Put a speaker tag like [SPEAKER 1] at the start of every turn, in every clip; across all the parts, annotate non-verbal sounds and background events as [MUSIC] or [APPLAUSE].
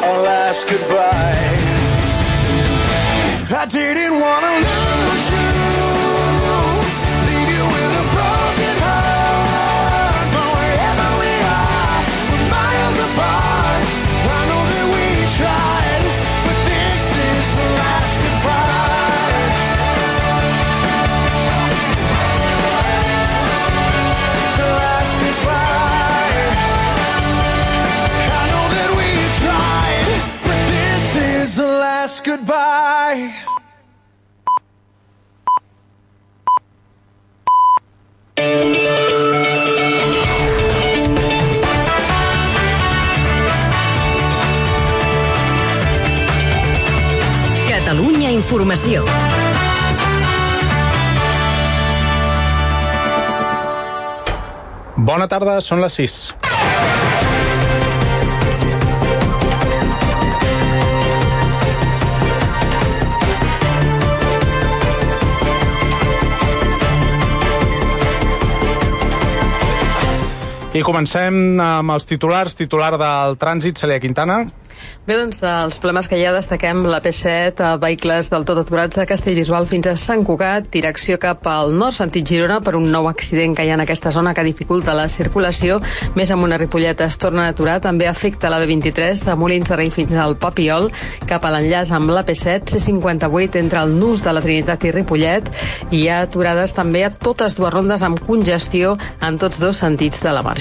[SPEAKER 1] last goodbye. I didn't want to lose you. Leave you with a broken heart. But wherever we are, we're miles apart. I know that we tried, but this is the last goodbye. The last goodbye. I know that we tried, but this is the last goodbye.
[SPEAKER 2] Catalunya Informació.
[SPEAKER 3] Bona tarda, són les 6. I comencem amb els titulars. Titular del trànsit, Celia Quintana.
[SPEAKER 4] Bé, doncs, dels problemes que hi ha destaquem la P7, a vehicles del tot aturats de Castellbisbal fins a Sant Cugat, direcció cap al nord, sentit Girona, per un nou accident que hi ha en aquesta zona que dificulta la circulació. Més amb una ripolleta es torna a aturar. També afecta la B23 de Molins de Rei fins al Papiol, cap a l'enllaç amb la P7, C58 entre el Nus de la Trinitat i Ripollet. Hi ha aturades també a totes dues rondes amb congestió en tots dos sentits de la marxa.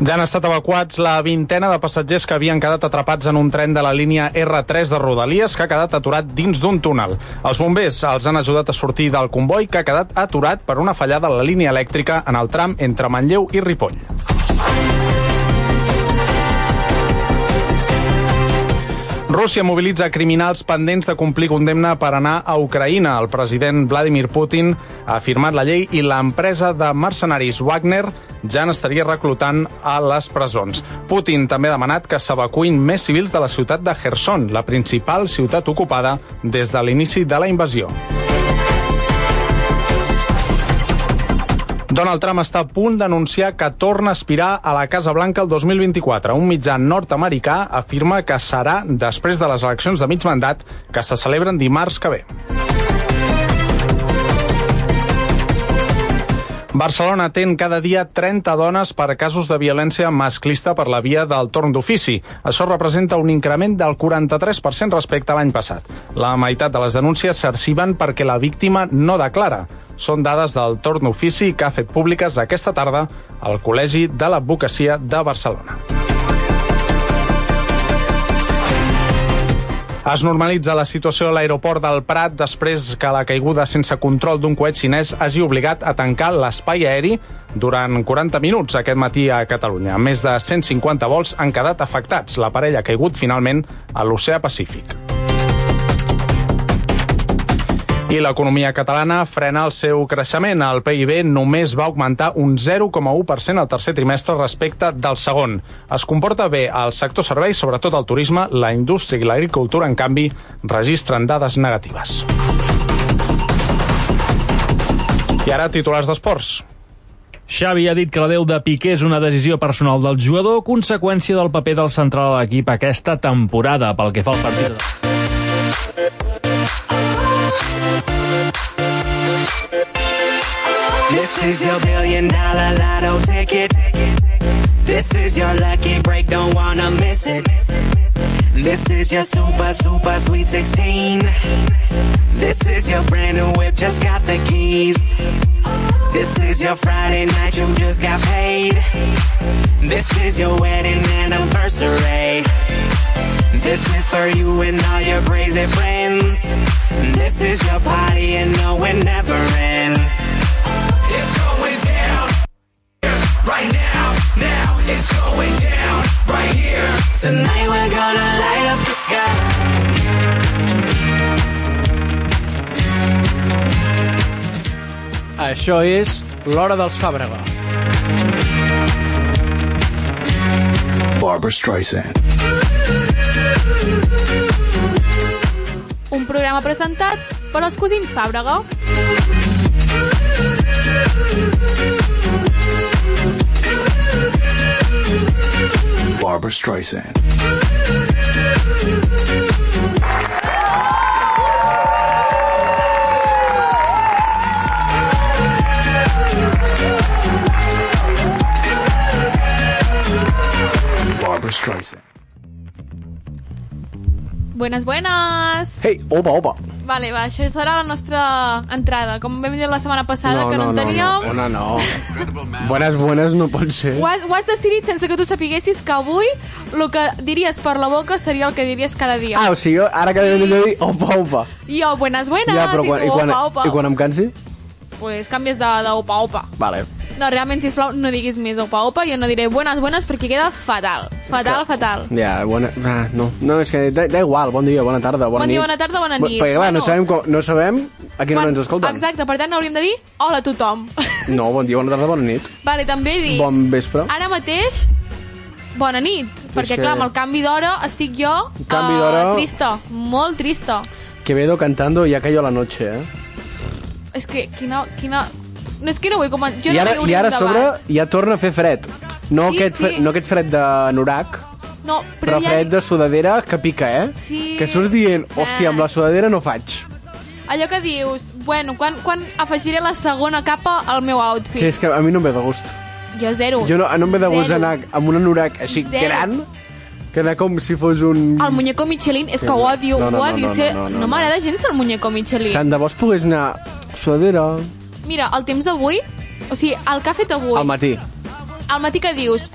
[SPEAKER 3] Ja han estat evacuats la vintena de passatgers que havien quedat atrapats en un tren de la línia R3 de Rodalies que ha quedat aturat dins d'un túnel. Els bombers els han ajudat a sortir del comboi que ha quedat aturat per una fallada a la línia elèctrica en el tram entre Manlleu i Ripoll. Rússia mobilitza criminals pendents de complir condemna per anar a Ucraïna. El president Vladimir Putin ha firmat la llei i l'empresa de mercenaris Wagner ja n'estaria reclutant a les presons. Putin també ha demanat que s'evacuïn més civils de la ciutat de Kherson, la principal ciutat ocupada des de l'inici de la invasió. Donald Trump està a punt d'anunciar que torna a aspirar a la Casa Blanca el 2024. Un mitjà nord-americà afirma que serà després de les eleccions de mig mandat que se celebren dimarts que ve. Barcelona atén cada dia 30 dones per casos de violència masclista per la via del torn d'ofici. Això representa un increment del 43% respecte a l'any passat. La meitat de les denúncies s'arxiven perquè la víctima no declara. Són dades del torn d'ofici que ha fet públiques aquesta tarda al Col·legi de l'Advocacia de Barcelona. Es normalitza la situació a l'aeroport del Prat després que la caiguda sense control d'un coet xinès hagi obligat a tancar l'espai aeri durant 40 minuts aquest matí a Catalunya. Més de 150 vols han quedat afectats. L'aparell ha caigut finalment a l'oceà Pacífic. I l'economia catalana frena el seu creixement. El PIB només va augmentar un 0,1% al tercer trimestre respecte del segon. Es comporta bé al sector serveis, sobretot el turisme, la indústria i l'agricultura, en canvi, registren dades negatives. I ara titulars d'esports.
[SPEAKER 5] Xavi ha dit que la deu de Piqué és una decisió personal del jugador, conseqüència del paper del central de l'equip aquesta temporada. Pel que fa al partit... de-
[SPEAKER 6] This is your billion dollar lotto ticket. This is your lucky break, don't wanna miss it. This is your super, super sweet 16. This is your brand new whip, just got the keys. This is your Friday night, you just got paid. This is your wedding anniversary. This is for you and all your crazy friends. This is your party and no, it never ends.
[SPEAKER 1] It's going down here, right now, now. It's going down right here.
[SPEAKER 6] Tonight we're gonna light up the sky.
[SPEAKER 7] Això és l'Hora dels Fàbrega.
[SPEAKER 8] Barbara Streisand.
[SPEAKER 9] Un programa presentat per els cosins Fàbrega.
[SPEAKER 8] Barbara Streisand. Barbara Streisand.
[SPEAKER 9] Buenas, buenas!
[SPEAKER 7] Ei, opa, opa.
[SPEAKER 9] Vale, va, això serà la nostra entrada. Com vam dir la setmana passada, que no, en teníem...
[SPEAKER 7] no, no, no, no. Buenes, buenes no pot ser.
[SPEAKER 9] Ho has, ho has decidit sense que tu sapiguessis que avui el que diries per la boca seria el que diries cada dia.
[SPEAKER 7] Ah, o sigui, jo, ara que sí. de dir opa, opa.
[SPEAKER 9] Jo, buenas, buenas,
[SPEAKER 7] ja, però quan,
[SPEAKER 9] i
[SPEAKER 7] i,
[SPEAKER 9] tu,
[SPEAKER 7] quan,
[SPEAKER 9] opa, opa.
[SPEAKER 7] I quan em cansi?
[SPEAKER 9] Pues canvies de, de opa, opa.
[SPEAKER 7] Vale.
[SPEAKER 9] No, realment, sisplau, no diguis més opa, opa, jo no diré buenas, buenas, perquè queda fatal. Fatal, fatal.
[SPEAKER 7] Ja, bona... Ah, no. no, és que da, da igual, bon dia, bona tarda, bona
[SPEAKER 9] Bon
[SPEAKER 7] nit.
[SPEAKER 9] dia, bona tarda, bona
[SPEAKER 7] Bo-
[SPEAKER 9] nit.
[SPEAKER 7] Perquè, clar,
[SPEAKER 9] Bueno.
[SPEAKER 7] no sabem, com, no sabem a quina hora
[SPEAKER 9] Quan-
[SPEAKER 7] ens escolten.
[SPEAKER 9] Exacte, per tant, hauríem de dir hola a tothom. [LAUGHS]
[SPEAKER 7] No, bon dia, bona tarda, bona nit.
[SPEAKER 9] vale, també dir...
[SPEAKER 7] Bon vespre.
[SPEAKER 9] Ara mateix, bona nit, perquè,
[SPEAKER 7] que-
[SPEAKER 9] clar, amb el canvi d'hora estic jo
[SPEAKER 7] Canvi
[SPEAKER 9] eh,
[SPEAKER 7] d'hora.
[SPEAKER 9] trista, molt trista.
[SPEAKER 7] Quevedo cantando Ya cayó la noche, eh?
[SPEAKER 9] És que quina... quina... No, és que no vull començar... Jo
[SPEAKER 7] I ara,
[SPEAKER 9] no vull
[SPEAKER 7] i
[SPEAKER 9] obrir
[SPEAKER 7] ara
[SPEAKER 9] un
[SPEAKER 7] a sobre
[SPEAKER 9] debat.
[SPEAKER 7] ja torna a fer fred. No,
[SPEAKER 9] Sí,
[SPEAKER 7] aquest,
[SPEAKER 9] sí.
[SPEAKER 7] Fred, no aquest fred de norac,
[SPEAKER 9] No,
[SPEAKER 7] però,
[SPEAKER 9] però, ja,
[SPEAKER 7] fred de sudadera que pica, eh?
[SPEAKER 9] Sí. Ah.
[SPEAKER 7] Que surts dient, hòstia, amb la sudadera no faig.
[SPEAKER 9] allò que dius, bueno, quan, quan afegiré la segona capa al meu outfit?
[SPEAKER 7] Que és que a mi no em ve de gust.
[SPEAKER 9] Jo zero.
[SPEAKER 7] Jo no, no em ve de gust
[SPEAKER 9] Oh, Zero.
[SPEAKER 7] anar amb un anorac així
[SPEAKER 9] Zero.
[SPEAKER 7] gran que anar com si fos un...
[SPEAKER 9] El muñeco Michelin, és que ho odio,
[SPEAKER 7] No, no,
[SPEAKER 9] ho
[SPEAKER 7] no,
[SPEAKER 9] odio.
[SPEAKER 7] no,
[SPEAKER 9] ser-
[SPEAKER 7] no, no,
[SPEAKER 9] no
[SPEAKER 7] no.
[SPEAKER 9] m'agrada gens el muñeco Michelin.
[SPEAKER 7] Tant de bo es pogués anar sudadera
[SPEAKER 9] Mira, el temps d'avui, o sigui, el que ha fet avui,
[SPEAKER 7] al matí.
[SPEAKER 9] al matí que dius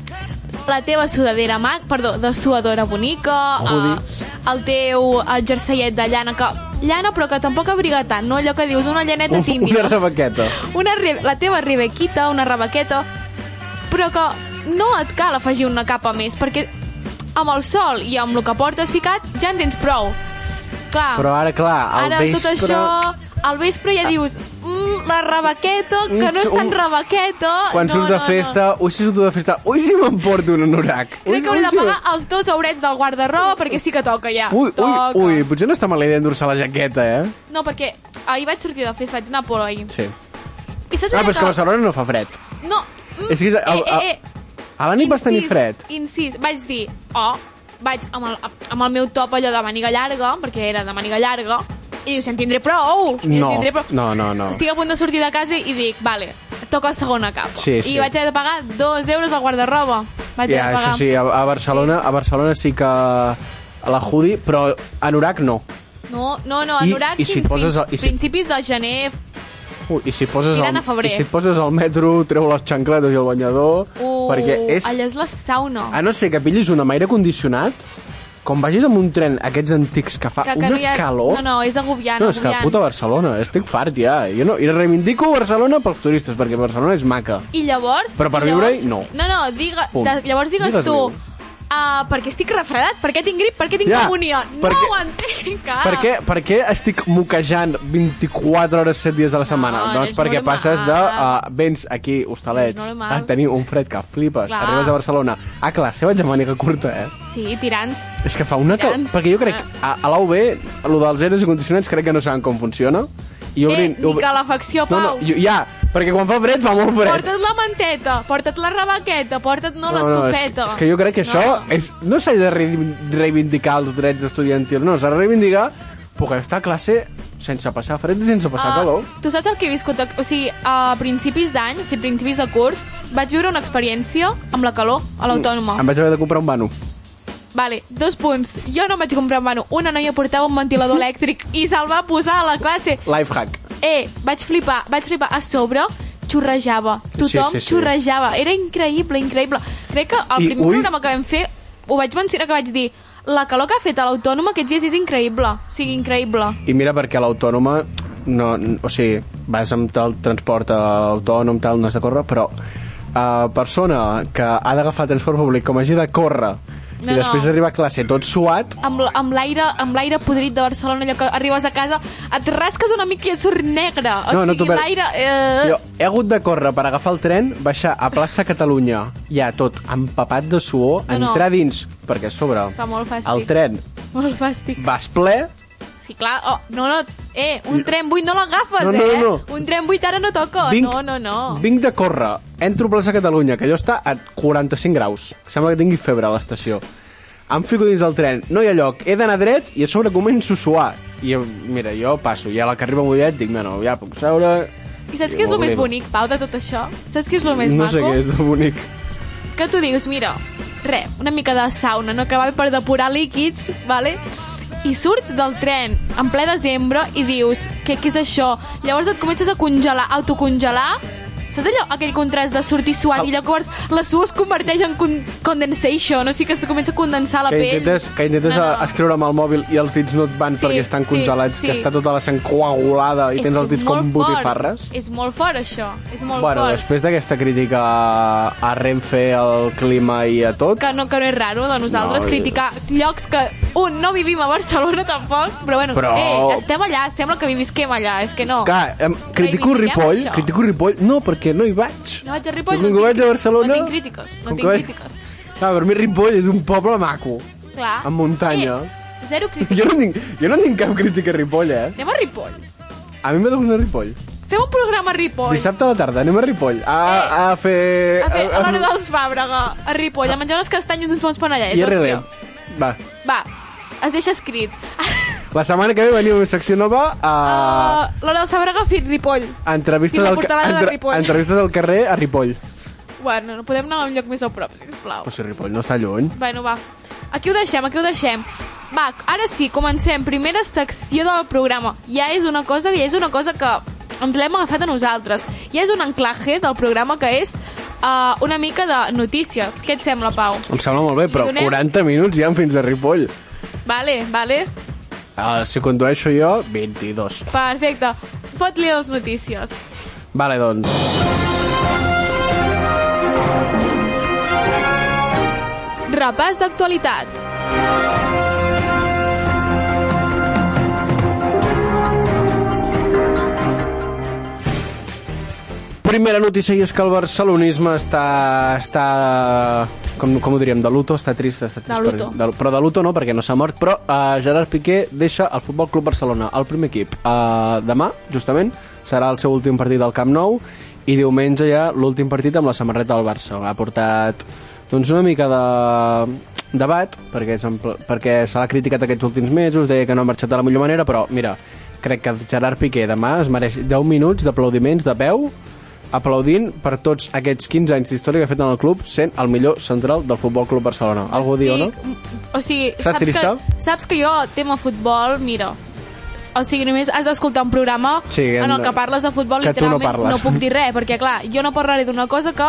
[SPEAKER 9] la teva sudadera mag, perdó, de suadora bonica,
[SPEAKER 7] Hoodie.
[SPEAKER 9] eh, el teu eh, jerseillet de llana, que llana però que tampoc abriga tant, no allò que dius, una llaneta tímida.
[SPEAKER 7] Una rebaqueta.
[SPEAKER 9] una re la teva rebequita, una rebequeta, però que no et cal afegir una capa més, perquè amb el sol i amb el que portes ficat ja en tens prou. Clar,
[SPEAKER 7] Però ara, clar, al
[SPEAKER 9] ara
[SPEAKER 7] vespre...
[SPEAKER 9] tot això, al vespre ja dius, mm, la rebequeta, que no és tan
[SPEAKER 7] Un-
[SPEAKER 9] rebequeta...
[SPEAKER 7] Quan
[SPEAKER 9] no,
[SPEAKER 7] surts de
[SPEAKER 9] no,
[SPEAKER 7] festa, ui, si surto de festa, ui, si m'emporto un anorac.
[SPEAKER 9] No. Crec que
[SPEAKER 7] Ui,
[SPEAKER 9] hauré de
[SPEAKER 7] ui, si-
[SPEAKER 9] pagar els dos aurets del guardarroba perquè sí que toca ja.
[SPEAKER 7] Ui,
[SPEAKER 9] toca.
[SPEAKER 7] ui, ui, potser no està mala idea endur-se la jaqueta, eh?
[SPEAKER 9] No, perquè ahir vaig sortir de festa, vaig anar a Polo ahir.
[SPEAKER 7] Sí.
[SPEAKER 9] I saps
[SPEAKER 7] Ah,
[SPEAKER 9] allò
[SPEAKER 7] però és que a Barcelona no fa fred.
[SPEAKER 9] No, mm,
[SPEAKER 7] És que el-
[SPEAKER 9] eh, eh, eh,
[SPEAKER 7] A la nit vas tenir
[SPEAKER 9] Incís,
[SPEAKER 7] fred.
[SPEAKER 9] Incís, vaig dir, oh, vaig amb el, amb el meu top allò de màniga llarga, perquè era de màniga llarga, i dius, en tindré prou. en
[SPEAKER 7] No,
[SPEAKER 9] tindré prou.
[SPEAKER 7] no, no, no.
[SPEAKER 9] Estic a punt de sortir de casa i dic, vale, toca segona capa.
[SPEAKER 7] Sí, sí.
[SPEAKER 9] I vaig haver de pagar dos euros al guardarroba. Vaig
[SPEAKER 7] Ja,
[SPEAKER 9] haver de
[SPEAKER 7] això
[SPEAKER 9] pagar.
[SPEAKER 7] sí, a, a Barcelona a Barcelona sí que a la hoodie, però anorac no.
[SPEAKER 9] No, no, no,
[SPEAKER 7] I-
[SPEAKER 9] anorac
[SPEAKER 7] i si
[SPEAKER 9] fins
[SPEAKER 7] poses el- i
[SPEAKER 9] fins
[SPEAKER 7] si-
[SPEAKER 9] principis de gener.
[SPEAKER 7] Ui, I si poses
[SPEAKER 9] Mirant a
[SPEAKER 7] el,
[SPEAKER 9] febrer.
[SPEAKER 7] i si et poses el metro, treu les xancletes i el banyador,
[SPEAKER 9] Uh,
[SPEAKER 7] perquè és...
[SPEAKER 9] Allò és la sauna.
[SPEAKER 7] A no ser que pillis un amb aire condicionat, com vagis amb un tren aquests antics que fa
[SPEAKER 9] Que- que
[SPEAKER 7] Ah, una
[SPEAKER 9] no hi ha-
[SPEAKER 7] calor...
[SPEAKER 9] No, no, és agobiant,
[SPEAKER 7] No, és que
[SPEAKER 9] agobiant.
[SPEAKER 7] puta Barcelona, estic fart ja. Jo no, I reivindico Barcelona pels turistes, perquè Barcelona és maca.
[SPEAKER 9] I llavors...
[SPEAKER 7] Però per
[SPEAKER 9] llavors,
[SPEAKER 7] viure-hi, no.
[SPEAKER 9] No, no, diga,
[SPEAKER 7] Punt.
[SPEAKER 9] de, llavors digues,
[SPEAKER 7] Digues
[SPEAKER 9] tu...
[SPEAKER 7] viure.
[SPEAKER 9] Uh, perquè estic refredat, perquè tinc grip, perquè tinc
[SPEAKER 7] Ja,
[SPEAKER 9] pneumonia.
[SPEAKER 7] perquè-
[SPEAKER 9] No ho entenc, clar.
[SPEAKER 7] Per què, per què estic moquejant 24 hores 7 dies a la setmana?
[SPEAKER 9] no
[SPEAKER 7] doncs
[SPEAKER 9] és
[SPEAKER 7] perquè
[SPEAKER 9] normal.
[SPEAKER 7] passes de... Uh, vens aquí, hostalets,
[SPEAKER 9] No és normal.
[SPEAKER 7] a tenir un fred que flipes,
[SPEAKER 9] Clar.
[SPEAKER 7] arribes a Barcelona... Ah, clar, seva germànica curta, eh?
[SPEAKER 9] Sí, tirants.
[SPEAKER 7] És que fa una... Cal...
[SPEAKER 9] Grans. Ah.
[SPEAKER 7] Perquè jo crec... A, a la UB, lo dels eres i condicionats crec que no saben com funciona. I
[SPEAKER 9] eh, ni
[SPEAKER 7] obrin-
[SPEAKER 9] calefacció,
[SPEAKER 7] No, no,
[SPEAKER 9] Pau.
[SPEAKER 7] jo, ja, perquè quan fa fred fa molt fred.
[SPEAKER 9] Porta't la manteta, porta't la rebaqueta, porta't no, l'estufeta.
[SPEAKER 7] és, és que jo crec que això...
[SPEAKER 9] No.
[SPEAKER 7] És, no s'ha de reivi- reivindicar els drets estudiantils, no, s'ha de reivindicar poder estar a classe sense passar fred i sense passar
[SPEAKER 9] Ah,
[SPEAKER 7] calor.
[SPEAKER 9] Tu saps el que he viscut? a- O sigui, a principis d'any, o sigui, principis de curs, vaig viure una experiència amb la calor a l'autònoma.
[SPEAKER 7] Em vaig haver de comprar un vano.
[SPEAKER 9] Vale, dos punts. Jo no em vaig comprar un vano. Una noia portava un ventilador elèctric i se'l va posar a la classe.
[SPEAKER 7] Lifehack.
[SPEAKER 9] Eh, vaig flipar, vaig flipar. A sobre xorrejava. Tothom
[SPEAKER 7] Sí, sí, sí.
[SPEAKER 9] xorrejava. Era increïble, increïble. Crec que el
[SPEAKER 7] I,
[SPEAKER 9] primer
[SPEAKER 7] ui.
[SPEAKER 9] programa que vam fer ho vaig mencionar, que vaig dir la calor que ha fet a l'autònoma aquests dies és increïble. O sigui, increïble.
[SPEAKER 7] I mira, perquè a l'autònoma, no, n- o sigui, vas amb el transport eh, autònom, tal, no has de córrer, però eh, persona que ha d'agafar transport públic com hagi de córrer
[SPEAKER 9] No,
[SPEAKER 7] i després
[SPEAKER 9] no.
[SPEAKER 7] d'arribar a classe tot suat,
[SPEAKER 9] Amb, l- amb l'aire amb l'aire podrit de Barcelona, allò que arribes a casa, et rasques una mica i et surt negre. O
[SPEAKER 7] No, no t'ho
[SPEAKER 9] sigui,
[SPEAKER 7] per-
[SPEAKER 9] l'aire... Eh...
[SPEAKER 7] jo he hagut de córrer per agafar el tren, baixar a plaça Catalunya, ja tot empapat de suor,
[SPEAKER 9] No, no.
[SPEAKER 7] entrar dins, perquè a sobre
[SPEAKER 9] Fa molt fàstic.
[SPEAKER 7] el tren
[SPEAKER 9] Molt fàstic.
[SPEAKER 7] vas ple,
[SPEAKER 9] Sí, clar, oh, no, no, eh, un tren buit no l'agafes,
[SPEAKER 7] No, no,
[SPEAKER 9] eh?
[SPEAKER 7] no.
[SPEAKER 9] Un tren buit ara no toca,
[SPEAKER 7] Vinc-
[SPEAKER 9] no, no, no.
[SPEAKER 7] Vinc de córrer, entro a plaça Catalunya, que allò està a 45 graus. Sembla que tingui febre a l'estació. Em fico dins del tren, no hi ha lloc, he d'anar dret i a sobre començo a suar. I jo- mira, jo passo, i a la que arriba Mollet dic, no, no, ja puc seure...
[SPEAKER 9] I saps què és el més bonic, Pau, de tot això? Saps què és el més
[SPEAKER 7] no sé
[SPEAKER 9] maco?
[SPEAKER 7] què és de bonic.
[SPEAKER 9] que tu dius, mira, re, una mica de sauna, no que va per depurar líquids, vale? i surts del tren en ple desembre i dius, què, què és això? Llavors et comences a congelar, autocongelar, Saps allò, aquell contrast de sortir suat
[SPEAKER 7] Ah.
[SPEAKER 9] i llavors la suor es converteix en con condensation, o sigui que es comença a condensar la
[SPEAKER 7] Que
[SPEAKER 9] pell.
[SPEAKER 7] intentes, que intentes no, no. escriure amb el mòbil i els dits no et van
[SPEAKER 9] Sí,
[SPEAKER 7] perquè estan
[SPEAKER 9] sí,
[SPEAKER 7] congelats,
[SPEAKER 9] sí.
[SPEAKER 7] que està tota la sang coagulada i
[SPEAKER 9] És
[SPEAKER 7] tens
[SPEAKER 9] que és
[SPEAKER 7] els dits com
[SPEAKER 9] molt fort.
[SPEAKER 7] botifarres.
[SPEAKER 9] És molt fort, això. És molt
[SPEAKER 7] Bueno,
[SPEAKER 9] fort.
[SPEAKER 7] després d'aquesta crítica a Renfe, al clima i a tot,
[SPEAKER 9] Que no, que no és raro de nosaltres
[SPEAKER 7] No,
[SPEAKER 9] no,
[SPEAKER 7] i-
[SPEAKER 9] criticar llocs que, un, no vivim a Barcelona tampoc, però bueno,
[SPEAKER 7] Però-
[SPEAKER 9] eh, estem allà, sembla que vivisquem allà, és que no.
[SPEAKER 7] Clar, em, critico
[SPEAKER 9] Reivindiquem
[SPEAKER 7] Ripoll,
[SPEAKER 9] això.
[SPEAKER 7] critico Ripoll, no, perquè no hi vaig.
[SPEAKER 9] No vaig a Ripoll,
[SPEAKER 7] Com
[SPEAKER 9] no,
[SPEAKER 7] que
[SPEAKER 9] tinc,
[SPEAKER 7] vaig a Barcelona...
[SPEAKER 9] no tinc crítiques, no
[SPEAKER 7] com
[SPEAKER 9] tinc
[SPEAKER 7] que vaig-
[SPEAKER 9] crítiques.
[SPEAKER 7] Clar, per mi Ripoll és un poble
[SPEAKER 9] [LAUGHS]
[SPEAKER 7] maco.
[SPEAKER 9] Clar.
[SPEAKER 7] Amb muntanya.
[SPEAKER 9] Eh,
[SPEAKER 7] [LAUGHS]
[SPEAKER 9] zero crítiques.
[SPEAKER 7] Jo no, tinc, jo no tinc cap crítica a Ripoll, eh?
[SPEAKER 9] Anem a Ripoll.
[SPEAKER 7] A mi m'ha de Ripoll.
[SPEAKER 9] Fem un programa a Ripoll.
[SPEAKER 7] Dissabte a la tarda anem a Ripoll a,
[SPEAKER 9] Eh.
[SPEAKER 7] a fer...
[SPEAKER 9] A fer a l'hora dels Fàbrega, a Ripoll, a menjar unes castanyes i uns bons panellets.
[SPEAKER 7] I
[SPEAKER 9] hòstia.
[SPEAKER 7] RL. Va.
[SPEAKER 9] Va, es deixa escrit.
[SPEAKER 7] La setmana que ve veniu a secció nova a... Ah.
[SPEAKER 9] [LAUGHS] Uh, l'hora dels Fàbrega a Ripoll.
[SPEAKER 7] Entrevistes,
[SPEAKER 9] tinc la
[SPEAKER 7] al, ca-
[SPEAKER 9] portaveu de Ripoll.
[SPEAKER 7] entrevistes al carrer a Ripoll.
[SPEAKER 9] Bueno, no podem anar a un lloc més a prop, sisplau.
[SPEAKER 7] Però si Ripoll no està lluny.
[SPEAKER 9] Bueno, va. Aquí ho deixem, aquí ho deixem. Va, ara sí, comencem. Primera secció del programa. Ja és una cosa, ja és una cosa que ens l'hem agafat a nosaltres. Ja és un anclaje del programa que és uh, una mica de notícies. Què et sembla, Pau?
[SPEAKER 7] Em sembla molt bé, però
[SPEAKER 9] Li donem-
[SPEAKER 7] 40 minuts ja en fins a Ripoll.
[SPEAKER 9] Vale, vale.
[SPEAKER 7] Uh, si condueixo jo, 22.
[SPEAKER 9] Perfecte. Fot-li les notícies.
[SPEAKER 7] Vale, doncs...
[SPEAKER 9] Repàs d'actualitat.
[SPEAKER 7] Primera notícia i és que el barcelonisme està... està com, com ho diríem? De luto? Està trist? Està trist
[SPEAKER 9] De luto.
[SPEAKER 7] Per, de, però de luto no, perquè no s'ha mort. Però uh, Gerard Piqué deixa el Futbol Club Barcelona, el primer equip. Uh, demà, justament, serà el seu últim partit al Camp Nou i diumenge ja l'últim partit amb la samarreta del Barça. Ha portat doncs, una mica de debat, perquè, és en pla- perquè se l'ha criticat aquests últims mesos, deia que no ha marxat de la millor manera, però mira, crec que Gerard Piqué demà es mereix 10 minuts d'aplaudiments de peu aplaudint per tots aquests 15 anys d'història que ha fet en el club sent el millor central del Futbol Club Barcelona. Algú diu, no?
[SPEAKER 9] O sigui,
[SPEAKER 7] Saps
[SPEAKER 9] saps,
[SPEAKER 7] trista?
[SPEAKER 9] que, saps que jo, tema futbol, mira... s- O sigui, només has d'escoltar un programa
[SPEAKER 7] Sí, en-
[SPEAKER 9] en el que parles de futbol,
[SPEAKER 7] que tu no
[SPEAKER 9] literalment
[SPEAKER 7] parles.
[SPEAKER 9] no puc dir res, perquè, clar, jo no parlaré d'una cosa que...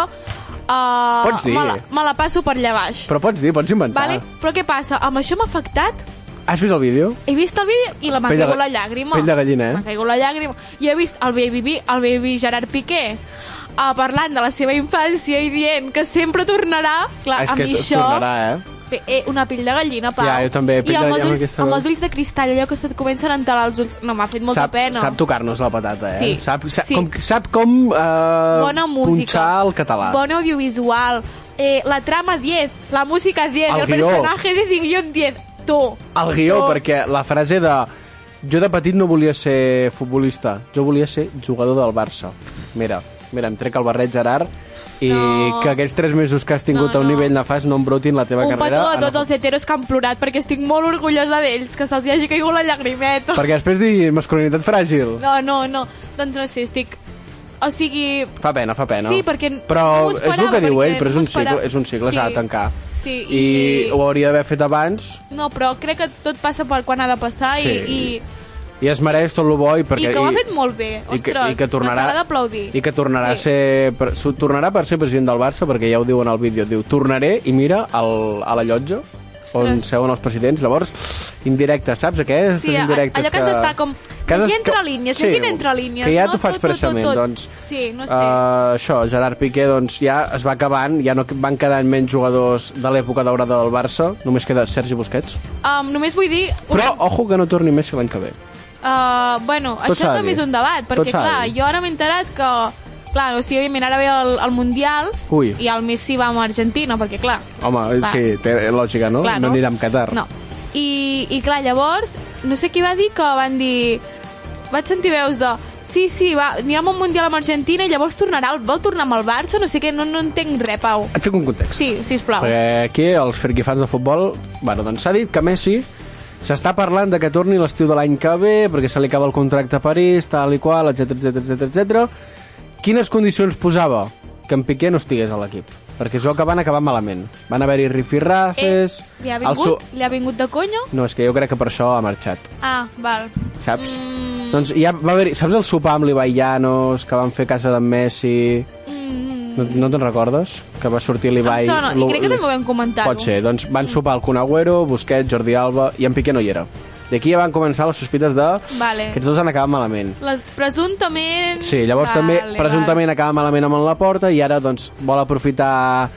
[SPEAKER 9] Uh,
[SPEAKER 7] Pots dir.
[SPEAKER 9] Me la, me la passo per allà baix.
[SPEAKER 7] Però ah. pots dir, pots inventar.
[SPEAKER 9] vale? Però què passa? Amb això m'ha afectat?
[SPEAKER 7] Has vist el vídeo?
[SPEAKER 9] He vist el vídeo i la m'ha
[SPEAKER 7] Pell de
[SPEAKER 9] caigut la
[SPEAKER 7] ga-
[SPEAKER 9] llàgrima.
[SPEAKER 7] pell de gallina, eh?
[SPEAKER 9] M'ha caigut la llàgrima. I he vist el baby, el baby Gerard Piqué uh, parlant de la seva infància i dient que sempre tornarà. Clar,
[SPEAKER 7] Ah, és
[SPEAKER 9] a
[SPEAKER 7] que
[SPEAKER 9] mi
[SPEAKER 7] t-
[SPEAKER 9] això...
[SPEAKER 7] tornarà, eh?
[SPEAKER 9] Bé, eh, una pell de gallina, Pau.
[SPEAKER 7] Ja, jo també,
[SPEAKER 9] I
[SPEAKER 7] pell de
[SPEAKER 9] amb els,
[SPEAKER 7] gallina,
[SPEAKER 9] ulls,
[SPEAKER 7] aquesta-
[SPEAKER 9] amb els ulls de cristall, allò que se't comencen a entelar els ulls... No, m'ha fet molta
[SPEAKER 7] sap,
[SPEAKER 9] pena.
[SPEAKER 7] Sap tocar-nos la patata, eh?
[SPEAKER 9] Sí.
[SPEAKER 7] Sap, sap
[SPEAKER 9] Sí.
[SPEAKER 7] com, sap com eh,
[SPEAKER 9] Bona música.
[SPEAKER 7] punxar el català.
[SPEAKER 9] Bon audiovisual. Eh, la trama 10, la música 10,
[SPEAKER 7] El
[SPEAKER 9] el,
[SPEAKER 7] guió.
[SPEAKER 9] personaje de guión 10. Tu.
[SPEAKER 7] El guió,
[SPEAKER 9] tu.
[SPEAKER 7] perquè la frase de... Jo de petit no volia ser futbolista, jo volia ser jugador del Barça. Mira, mira, em trec el barret Gerard i
[SPEAKER 9] No.
[SPEAKER 7] que aquests tres mesos que has tingut
[SPEAKER 9] No,
[SPEAKER 7] a un
[SPEAKER 9] no.
[SPEAKER 7] nivell nefast no embrutin la teva
[SPEAKER 9] Un petó
[SPEAKER 7] carrera.
[SPEAKER 9] a
[SPEAKER 7] en el
[SPEAKER 9] tots els heteros que han plorat, perquè estic molt orgullosa d'ells, que se'ls hi hagi caigut la llagrimeta.
[SPEAKER 7] Perquè després digui masculinitat fràgil. No.
[SPEAKER 9] No, no, no. Doncs no sé, estic... O sigui...
[SPEAKER 7] Fa pena, fa pena.
[SPEAKER 9] Sí, perquè
[SPEAKER 7] però
[SPEAKER 9] no m'ho
[SPEAKER 7] és el
[SPEAKER 9] esperava,
[SPEAKER 7] que diu
[SPEAKER 9] perquè
[SPEAKER 7] ell, però és
[SPEAKER 9] no
[SPEAKER 7] un
[SPEAKER 9] m'ho esperava.
[SPEAKER 7] cicle, és un cicle s'ha
[SPEAKER 9] Sí.
[SPEAKER 7] de tancar.
[SPEAKER 9] Sí,
[SPEAKER 7] I...
[SPEAKER 9] i-
[SPEAKER 7] ho hauria d'haver fet abans
[SPEAKER 9] No, però crec que tot passa per quan ha de passar
[SPEAKER 7] Sí.
[SPEAKER 9] i, i,
[SPEAKER 7] i es mereix tot el bo i perquè...
[SPEAKER 9] I que ho ha fet molt bé. Ostres,
[SPEAKER 7] i que tornarà,
[SPEAKER 9] no s'ha d'aplaudir.
[SPEAKER 7] I que tornarà,
[SPEAKER 9] Sí.
[SPEAKER 7] sí. a ser, per, su- tornarà per ser president del Barça, perquè ja ho diu en el vídeo, diu, tornaré i mira el, a la llotja, on seuen els presidents. Llavors, indirecte, saps? Aquestes
[SPEAKER 9] Sí, a-
[SPEAKER 7] indirectes
[SPEAKER 9] allò que s'està com llegint
[SPEAKER 7] s'està-
[SPEAKER 9] entre línies, llegint entre línies,
[SPEAKER 7] Que ja
[SPEAKER 9] no?
[SPEAKER 7] t'ho fa
[SPEAKER 9] Tot, tot, tot,
[SPEAKER 7] expressament,
[SPEAKER 9] tot.
[SPEAKER 7] doncs...
[SPEAKER 9] Sí, no sé.
[SPEAKER 7] eh, això, Gerard Piqué, doncs, ja es va acabant, ja no van quedant menys jugadors de l'època daurada del Barça, només queda Sergi Busquets.
[SPEAKER 9] Um, només vull dir... un-
[SPEAKER 7] Però, ojo, que no torni més l'any que ve.
[SPEAKER 9] Uh, bueno,
[SPEAKER 7] Tot s'ha
[SPEAKER 9] això
[SPEAKER 7] de
[SPEAKER 9] també
[SPEAKER 7] dir.
[SPEAKER 9] és un debat,
[SPEAKER 7] Tot
[SPEAKER 9] perquè
[SPEAKER 7] s'ha de
[SPEAKER 9] clar,
[SPEAKER 7] dir.
[SPEAKER 9] jo ara m'he enterat que... Clar, o sigui, òbviament, ara ve el, el Mundial
[SPEAKER 7] Ui.
[SPEAKER 9] i el Messi va amb Argentina, perquè clar...
[SPEAKER 7] Home,
[SPEAKER 9] Va.
[SPEAKER 7] sí, té lògica, no?
[SPEAKER 9] clar
[SPEAKER 7] no anirà amb Qatar.
[SPEAKER 9] No. I, I clar, llavors, no sé qui va dir que van dir... Vaig sentir veus de... Sí, sí, va, anirem al Mundial amb Argentina i llavors tornarà, el vol tornar amb el Barça, no sé què, no, no entenc res, Pau.
[SPEAKER 7] Et fico un context.
[SPEAKER 9] Sí, sisplau.
[SPEAKER 7] Perquè aquí els friki-fans de futbol... Bueno, doncs s'ha dit que Messi s'està parlant de que torni l'estiu de l'any que ve perquè se li acaba el contracte a París, tal i qual, etc etc etc etc. Quines condicions posava que en Piqué no estigués a l'equip? Perquè és el que van acabar malament. Van haver-hi rifirrafes...
[SPEAKER 9] li Eh, ha
[SPEAKER 7] el
[SPEAKER 9] vingut?
[SPEAKER 7] su-
[SPEAKER 9] Li ha vingut de conyo?
[SPEAKER 7] No, és que jo crec que per això ha marxat,
[SPEAKER 9] Ah, val.
[SPEAKER 7] saps?
[SPEAKER 9] Mm.
[SPEAKER 7] Doncs ja va haver-hi... Saps el sopar amb l'Ibai Llanos que van fer a casa d'en Messi...
[SPEAKER 9] Mm,
[SPEAKER 7] No, no te'n recordes? Que va sortir l'Ibai...
[SPEAKER 9] Em sona, i
[SPEAKER 7] lo-
[SPEAKER 9] crec que
[SPEAKER 7] li-
[SPEAKER 9] també ho vam comentar-ho.
[SPEAKER 7] Pot ser, doncs van sopar el Conagüero, Busquets, Jordi Alba, i en Piqué no hi era. I aquí ja van començar les sospites de...
[SPEAKER 9] Vale.
[SPEAKER 7] Aquests dos han acabat malament.
[SPEAKER 9] Les presumptament...
[SPEAKER 7] Sí, llavors
[SPEAKER 9] vale,
[SPEAKER 7] també,
[SPEAKER 9] vale.
[SPEAKER 7] presumptament, acaba malament amb la porta i ara, doncs, vol aprofitar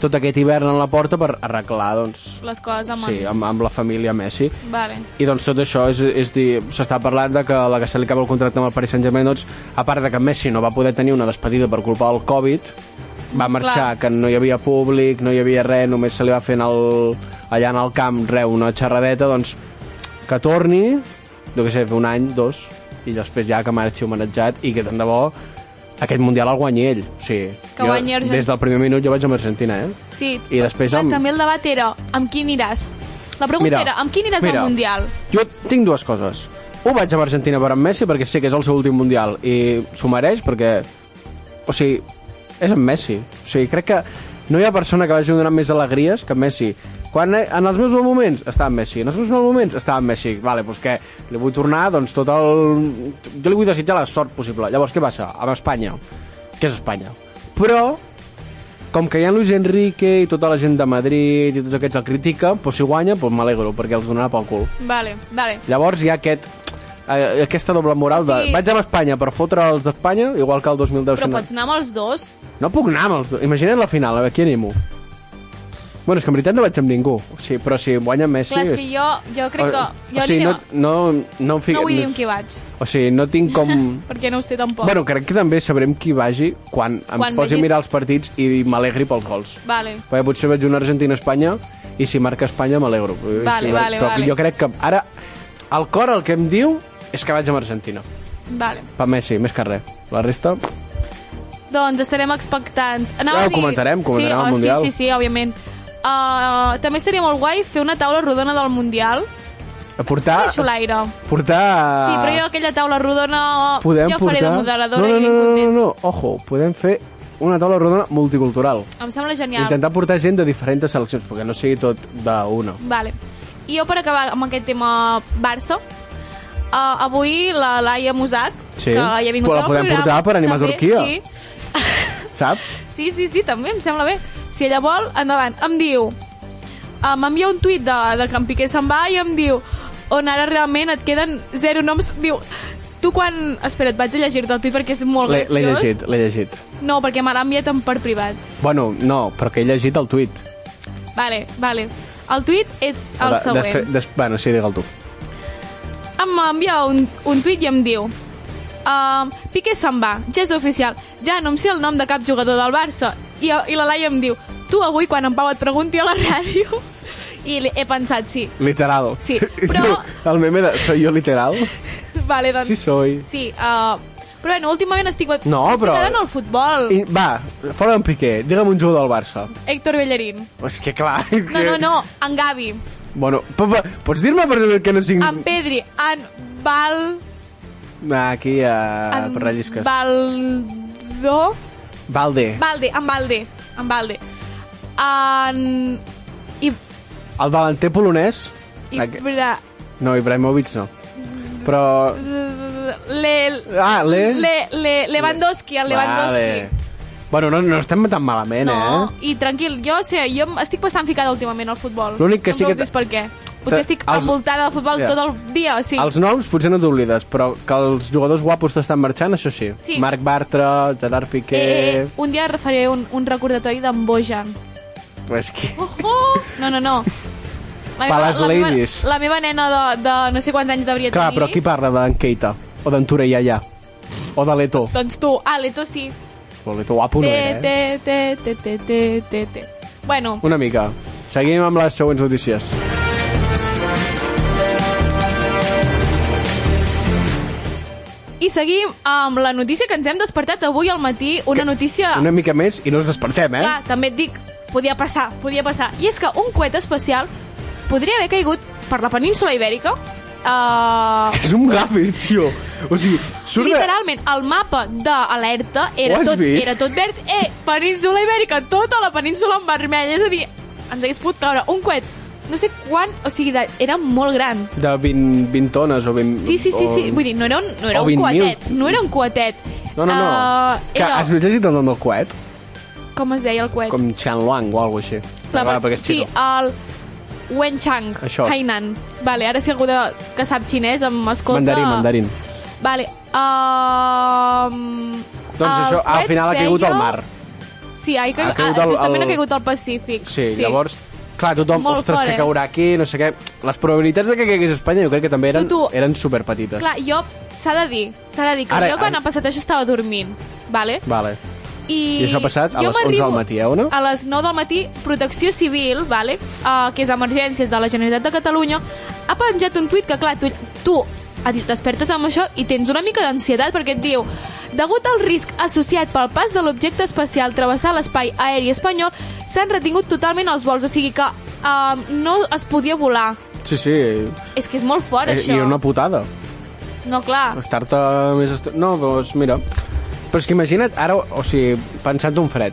[SPEAKER 7] tot aquest hivern en la porta per arreglar, doncs,
[SPEAKER 9] Les coses amb...
[SPEAKER 7] sí, amb, amb la família Messi.
[SPEAKER 9] Vale.
[SPEAKER 7] I doncs tot això és, és dir, s'està parlant de que la que se li acaba el contracte amb el Paris Saint-Germain, doncs, a part de que Messi no va poder tenir una despedida per culpa del Covid, va marxar,
[SPEAKER 9] clar.
[SPEAKER 7] que no hi havia públic, no hi havia res, només se li va fer en el, allà en el camp, re, una xerradeta, doncs, que torni, jo què sé, fer un any, dos, i després ja que marxi homenatjat i que tant de bo aquest Mundial el guanyi ell. O sigui,
[SPEAKER 9] Que guanyi
[SPEAKER 7] jo,
[SPEAKER 9] Argentina.
[SPEAKER 7] des del primer minut jo vaig amb Argentina, eh?
[SPEAKER 9] Sí.
[SPEAKER 7] I després
[SPEAKER 9] Clar,
[SPEAKER 7] amb-
[SPEAKER 9] També el debat era amb qui aniràs. La pregunta era, amb qui aniràs
[SPEAKER 7] mira,
[SPEAKER 9] al Mundial?
[SPEAKER 7] Jo tinc dues coses. Un, vaig amb Argentina per amb Messi perquè sé que és el seu últim Mundial i s'ho mereix perquè... O sigui, és en Messi. O sigui, crec que no hi ha persona que vagi donant més alegries que en Messi. Quan, eh, en els meus bons moments estava en Messi, en els meus mals moments estava en Messi. Vale, doncs què? Li vull tornar, doncs, tot el... Jo li vull desitjar la sort possible. Llavors, què passa? Amb Espanya. Què és Espanya? Però com que hi ha Luis Enrique i tota la gent de Madrid i tots aquests el critica, doncs si guanya, doncs m'alegro, perquè els donarà pel cul.
[SPEAKER 9] Vale, vale.
[SPEAKER 7] Llavors hi ha aquest, eh, aquesta doble moral de...
[SPEAKER 9] Sí.
[SPEAKER 7] Vaig amb Espanya per fotre els d'Espanya, igual que el 2010.
[SPEAKER 9] Però
[SPEAKER 7] sent-
[SPEAKER 9] pots anar amb els dos?
[SPEAKER 7] No puc anar amb els dos. Imagina't la final, a veure, qui animo? Bueno, és que en veritat no vaig amb ningú. O sigui, però si guanya Messi...
[SPEAKER 9] Clar, és que jo, jo crec que... Jo
[SPEAKER 7] o sigui,
[SPEAKER 9] aniré...
[SPEAKER 7] no, no, no, em fic...
[SPEAKER 9] no vull dir amb qui vaig,
[SPEAKER 7] O sigui, no tinc com...
[SPEAKER 9] [LAUGHS] perquè no ho sé tampoc.
[SPEAKER 7] bueno, crec que també sabrem qui vagi quan em
[SPEAKER 9] Quan
[SPEAKER 7] posi
[SPEAKER 9] vegis-
[SPEAKER 7] a mirar els partits i m'alegri pels gols.
[SPEAKER 9] Vale.
[SPEAKER 7] Perquè potser veig una Argentina-Espanya i si marca Espanya m'alegro.
[SPEAKER 9] Vale,
[SPEAKER 7] Sí,
[SPEAKER 9] vale,
[SPEAKER 7] Però
[SPEAKER 9] vale.
[SPEAKER 7] jo crec que ara el cor el que em diu és que vaig amb Argentina.
[SPEAKER 9] Vale.
[SPEAKER 7] Per Messi, més que res. La resta...
[SPEAKER 9] Doncs estarem expectants. Anava
[SPEAKER 7] Ja
[SPEAKER 9] a
[SPEAKER 7] ho
[SPEAKER 9] dir...
[SPEAKER 7] comentarem, comentarem
[SPEAKER 9] sí,
[SPEAKER 7] el
[SPEAKER 9] oh,
[SPEAKER 7] Mundial.
[SPEAKER 9] Sí, sí, sí, òbviament. Uh, també estaria molt guai fer una taula rodona del Mundial.
[SPEAKER 7] A portar...
[SPEAKER 9] Ah, xulaire.
[SPEAKER 7] Portar...
[SPEAKER 9] Sí, però jo aquella taula rodona
[SPEAKER 7] Ah.
[SPEAKER 9] oh,
[SPEAKER 7] Podem
[SPEAKER 9] jo
[SPEAKER 7] portar...
[SPEAKER 9] faré de moderadora
[SPEAKER 7] no, no,
[SPEAKER 9] i
[SPEAKER 7] no, no, no,
[SPEAKER 9] content.
[SPEAKER 7] no, ojo, podem fer una taula rodona multicultural.
[SPEAKER 9] Em sembla genial.
[SPEAKER 7] Intentar portar gent de diferents seleccions, perquè no sigui tot d'una.
[SPEAKER 9] Vale. I jo per acabar amb aquest tema Barça, uh, avui la Laia Musac,
[SPEAKER 7] Sí.
[SPEAKER 9] que ja ha vingut
[SPEAKER 7] Però la
[SPEAKER 9] al
[SPEAKER 7] podem
[SPEAKER 9] programa,
[SPEAKER 7] portar per animar
[SPEAKER 9] també,
[SPEAKER 7] Turquia.
[SPEAKER 9] Sí.
[SPEAKER 7] Saps?
[SPEAKER 9] Sí, sí, sí, també, em sembla bé. Si ella vol, endavant. Em diu... eh, M'envia un tuit de, de que en Piqué se'n va i em diu on ara realment et queden zero noms. Diu, tu quan... Espera, et vaig a llegir-te el tuit perquè és molt
[SPEAKER 7] L'he
[SPEAKER 9] graciós.
[SPEAKER 7] l'he llegit, l'he llegit.
[SPEAKER 9] No, perquè me l'ha enviat en per privat.
[SPEAKER 7] Bueno, no, però que he llegit el tuit.
[SPEAKER 9] Vale, vale. El tuit és el
[SPEAKER 7] Ara,
[SPEAKER 9] següent.
[SPEAKER 7] després- des- bueno, sí, digue'l tu.
[SPEAKER 9] em envia un, un tuit i em diu uh, Piqué se'n va, ja és oficial ja no em sé el nom de cap jugador del Barça i, i la Laia em diu tu avui quan en Pau et pregunti a la ràdio i li- he pensat sí [LAUGHS]
[SPEAKER 7] Literal.
[SPEAKER 9] Sí,
[SPEAKER 7] [LAUGHS] I tu,
[SPEAKER 9] però-
[SPEAKER 7] El meme de soy yo literal.
[SPEAKER 9] vale, doncs,
[SPEAKER 7] Sí, soy.
[SPEAKER 9] sí uh, però bueno, últimament estic...
[SPEAKER 7] No,
[SPEAKER 9] estic
[SPEAKER 7] però-
[SPEAKER 9] quedant al futbol.
[SPEAKER 7] I, va, fora en Piqué, digue'm un jugador del Barça.
[SPEAKER 9] Héctor Bellerín.
[SPEAKER 7] És que clar...
[SPEAKER 9] No, no, no, en Gavi,
[SPEAKER 7] Bueno, papa, pots dir-me per exemple que no sigui...
[SPEAKER 9] en Pedri, en Val...
[SPEAKER 7] Ah, aquí ja
[SPEAKER 9] En
[SPEAKER 7] rellisques.
[SPEAKER 9] Valdó...
[SPEAKER 7] Valde.
[SPEAKER 9] Valde, en Valde, en Valde. En... I...
[SPEAKER 7] El davanter polonès... Aqu-
[SPEAKER 9] Ibra...
[SPEAKER 7] No, Ibrahimovic no. Però...
[SPEAKER 9] Le...
[SPEAKER 7] Ah, le...
[SPEAKER 9] Le, le, Lewandowski, el Lewandowski.
[SPEAKER 7] Vale. Bueno, no, no estem tan malament,
[SPEAKER 9] No,
[SPEAKER 7] eh?
[SPEAKER 9] i tranquil, jo sé, jo em- estic bastant ficada últimament al futbol.
[SPEAKER 7] L'únic que
[SPEAKER 9] no
[SPEAKER 7] sí que
[SPEAKER 9] em preguntis
[SPEAKER 7] t-
[SPEAKER 9] per què. Potser
[SPEAKER 7] t-
[SPEAKER 9] estic
[SPEAKER 7] els-
[SPEAKER 9] envoltada de futbol
[SPEAKER 7] Ja.
[SPEAKER 9] tot el dia, o sigui...
[SPEAKER 7] Els noms potser no t'oblides, però que els jugadors guapos t'estan marxant, això sí.
[SPEAKER 9] Sí.
[SPEAKER 7] Marc Bartra, Gerard
[SPEAKER 9] Eh,
[SPEAKER 7] Piqué...
[SPEAKER 9] eh, eh, un dia faré un, un recordatori d'en Bojan.
[SPEAKER 7] És que...
[SPEAKER 9] Oh, oh! No, no, no. La
[SPEAKER 7] Palace
[SPEAKER 9] la
[SPEAKER 7] Ladies.
[SPEAKER 9] Meva, la meva nena de, de no sé quants anys devia
[SPEAKER 7] Clar,
[SPEAKER 9] tenir.
[SPEAKER 7] però qui parla d'en Keita? O d'en Ture Iaia? O de Leto?
[SPEAKER 9] Doncs tu, ah, l'Eto sí.
[SPEAKER 7] Però Leto guapo no era, eh?
[SPEAKER 9] Té, té, té, té, té, té, té. Bueno,
[SPEAKER 7] Una mica. Seguim amb les següents notícies.
[SPEAKER 9] I seguim amb la notícia que ens hem despertat avui al matí, una notícia...
[SPEAKER 7] Una mica més i no ens despertem, eh?
[SPEAKER 9] Ah. Clar, també et dic, podia passar, podia passar. I és que un coet espacial podria haver caigut per la península ibèrica Uh,
[SPEAKER 7] És un gafes, tio. O sigui, surt de-
[SPEAKER 9] literalment, el mapa d'alerta
[SPEAKER 7] Ho
[SPEAKER 9] era,
[SPEAKER 7] has
[SPEAKER 9] tot,
[SPEAKER 7] vist?
[SPEAKER 9] era tot verd. Eh, península ibèrica, tota la península en vermell. És a dir, ens hagués pogut caure un coet no sé quan, o sigui, de, era molt gran.
[SPEAKER 7] de 20, 20 tones o 20...
[SPEAKER 9] Sí, sí, sí,
[SPEAKER 7] o...
[SPEAKER 9] sí. vull dir, no era un, no era
[SPEAKER 7] o
[SPEAKER 9] un
[SPEAKER 7] 20.000.
[SPEAKER 9] coetet, no era un coetet.
[SPEAKER 7] Oh. No, no, no.
[SPEAKER 9] Ah,
[SPEAKER 7] que
[SPEAKER 9] era,
[SPEAKER 7] has llegit el nom del coet?
[SPEAKER 9] com es deia el coet?
[SPEAKER 7] Com Chanluang o alguna cosa així.
[SPEAKER 9] Clar,
[SPEAKER 7] Clar, perquè és
[SPEAKER 9] sí,
[SPEAKER 7] sí.
[SPEAKER 9] el Wenchang,
[SPEAKER 7] Això.
[SPEAKER 9] Hainan. Vale, ara si algú de, que sap xinès em escolta...
[SPEAKER 7] Mandarín, mandarín.
[SPEAKER 9] Vale. Um,
[SPEAKER 7] Doncs
[SPEAKER 9] el
[SPEAKER 7] això, al
[SPEAKER 9] coet
[SPEAKER 7] final ha caigut
[SPEAKER 9] feia-
[SPEAKER 7] al mar.
[SPEAKER 9] Sí, ha caigut, ah,
[SPEAKER 7] Ha caigut al-
[SPEAKER 9] justament
[SPEAKER 7] al-
[SPEAKER 9] ha caigut al Pacífic.
[SPEAKER 7] Sí, sí. llavors... Clar, tothom,
[SPEAKER 9] Molt
[SPEAKER 7] ostres,
[SPEAKER 9] fort,
[SPEAKER 7] que
[SPEAKER 9] eh?
[SPEAKER 7] caurà aquí, no sé què... Les probabilitats de que caigués a Espanya jo crec que també eren,
[SPEAKER 9] Tu, tu.
[SPEAKER 7] eren superpetites.
[SPEAKER 9] Clar, jo... S'ha de dir, s'ha de dir que
[SPEAKER 7] Ara-
[SPEAKER 9] jo quan
[SPEAKER 7] ara-
[SPEAKER 9] ha passat això estava dormint, vale?
[SPEAKER 7] Vale.
[SPEAKER 9] I,
[SPEAKER 7] I això ha passat a
[SPEAKER 9] jo
[SPEAKER 7] les 11
[SPEAKER 9] m'arribo-
[SPEAKER 7] del matí, eh, Ona?
[SPEAKER 9] A les 9 del matí, Protecció Civil, vale? uh, que és Emergències de la Generalitat de Catalunya, ha penjat un tuit que, clar, tu, tu et despertes amb això i tens una mica d'ansietat perquè et diu degut al risc associat pel pas de l'objecte espacial travessar l'espai aeri espanyol, s'han retingut totalment els vols, o sigui que um, no es podia volar.
[SPEAKER 7] Sí, sí.
[SPEAKER 9] És que és molt fort,
[SPEAKER 7] Eh, I,
[SPEAKER 9] això.
[SPEAKER 7] I una putada.
[SPEAKER 9] No, clar.
[SPEAKER 7] Estar-te més... Est... No, doncs mira... Però és que imagina't ara, o sigui, pensant un fred.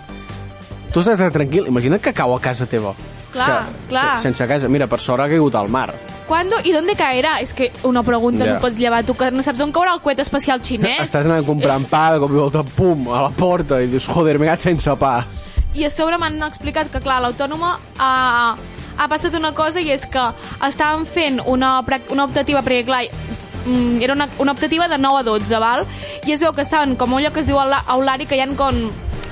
[SPEAKER 7] Tu estàs tan tranquil, imagina't que cau a casa teva.
[SPEAKER 9] Clar,
[SPEAKER 7] És que,
[SPEAKER 9] clar.
[SPEAKER 7] se- Sense casa. Mira, per sort ha caigut al mar.
[SPEAKER 9] ¿Cuándo y dónde caerá? És que una pregunta
[SPEAKER 7] Ja.
[SPEAKER 9] no pots llevar. Tu que no saps on caurà el coet espacial xinès.
[SPEAKER 7] Estàs anant comprant pa, de cop i volta, pum, a la porta, i dius, joder, m'he quedat sense pa.
[SPEAKER 9] I a sobre m'han explicat que, clar, a l'autònoma ha, ha passat una cosa i és que estaven fent una, prac- una optativa, perquè, clar, mm, era una, una optativa de 9 a 12, val? I es veu que estaven com a un lloc que es diu Aula- Aulari, que hi ha com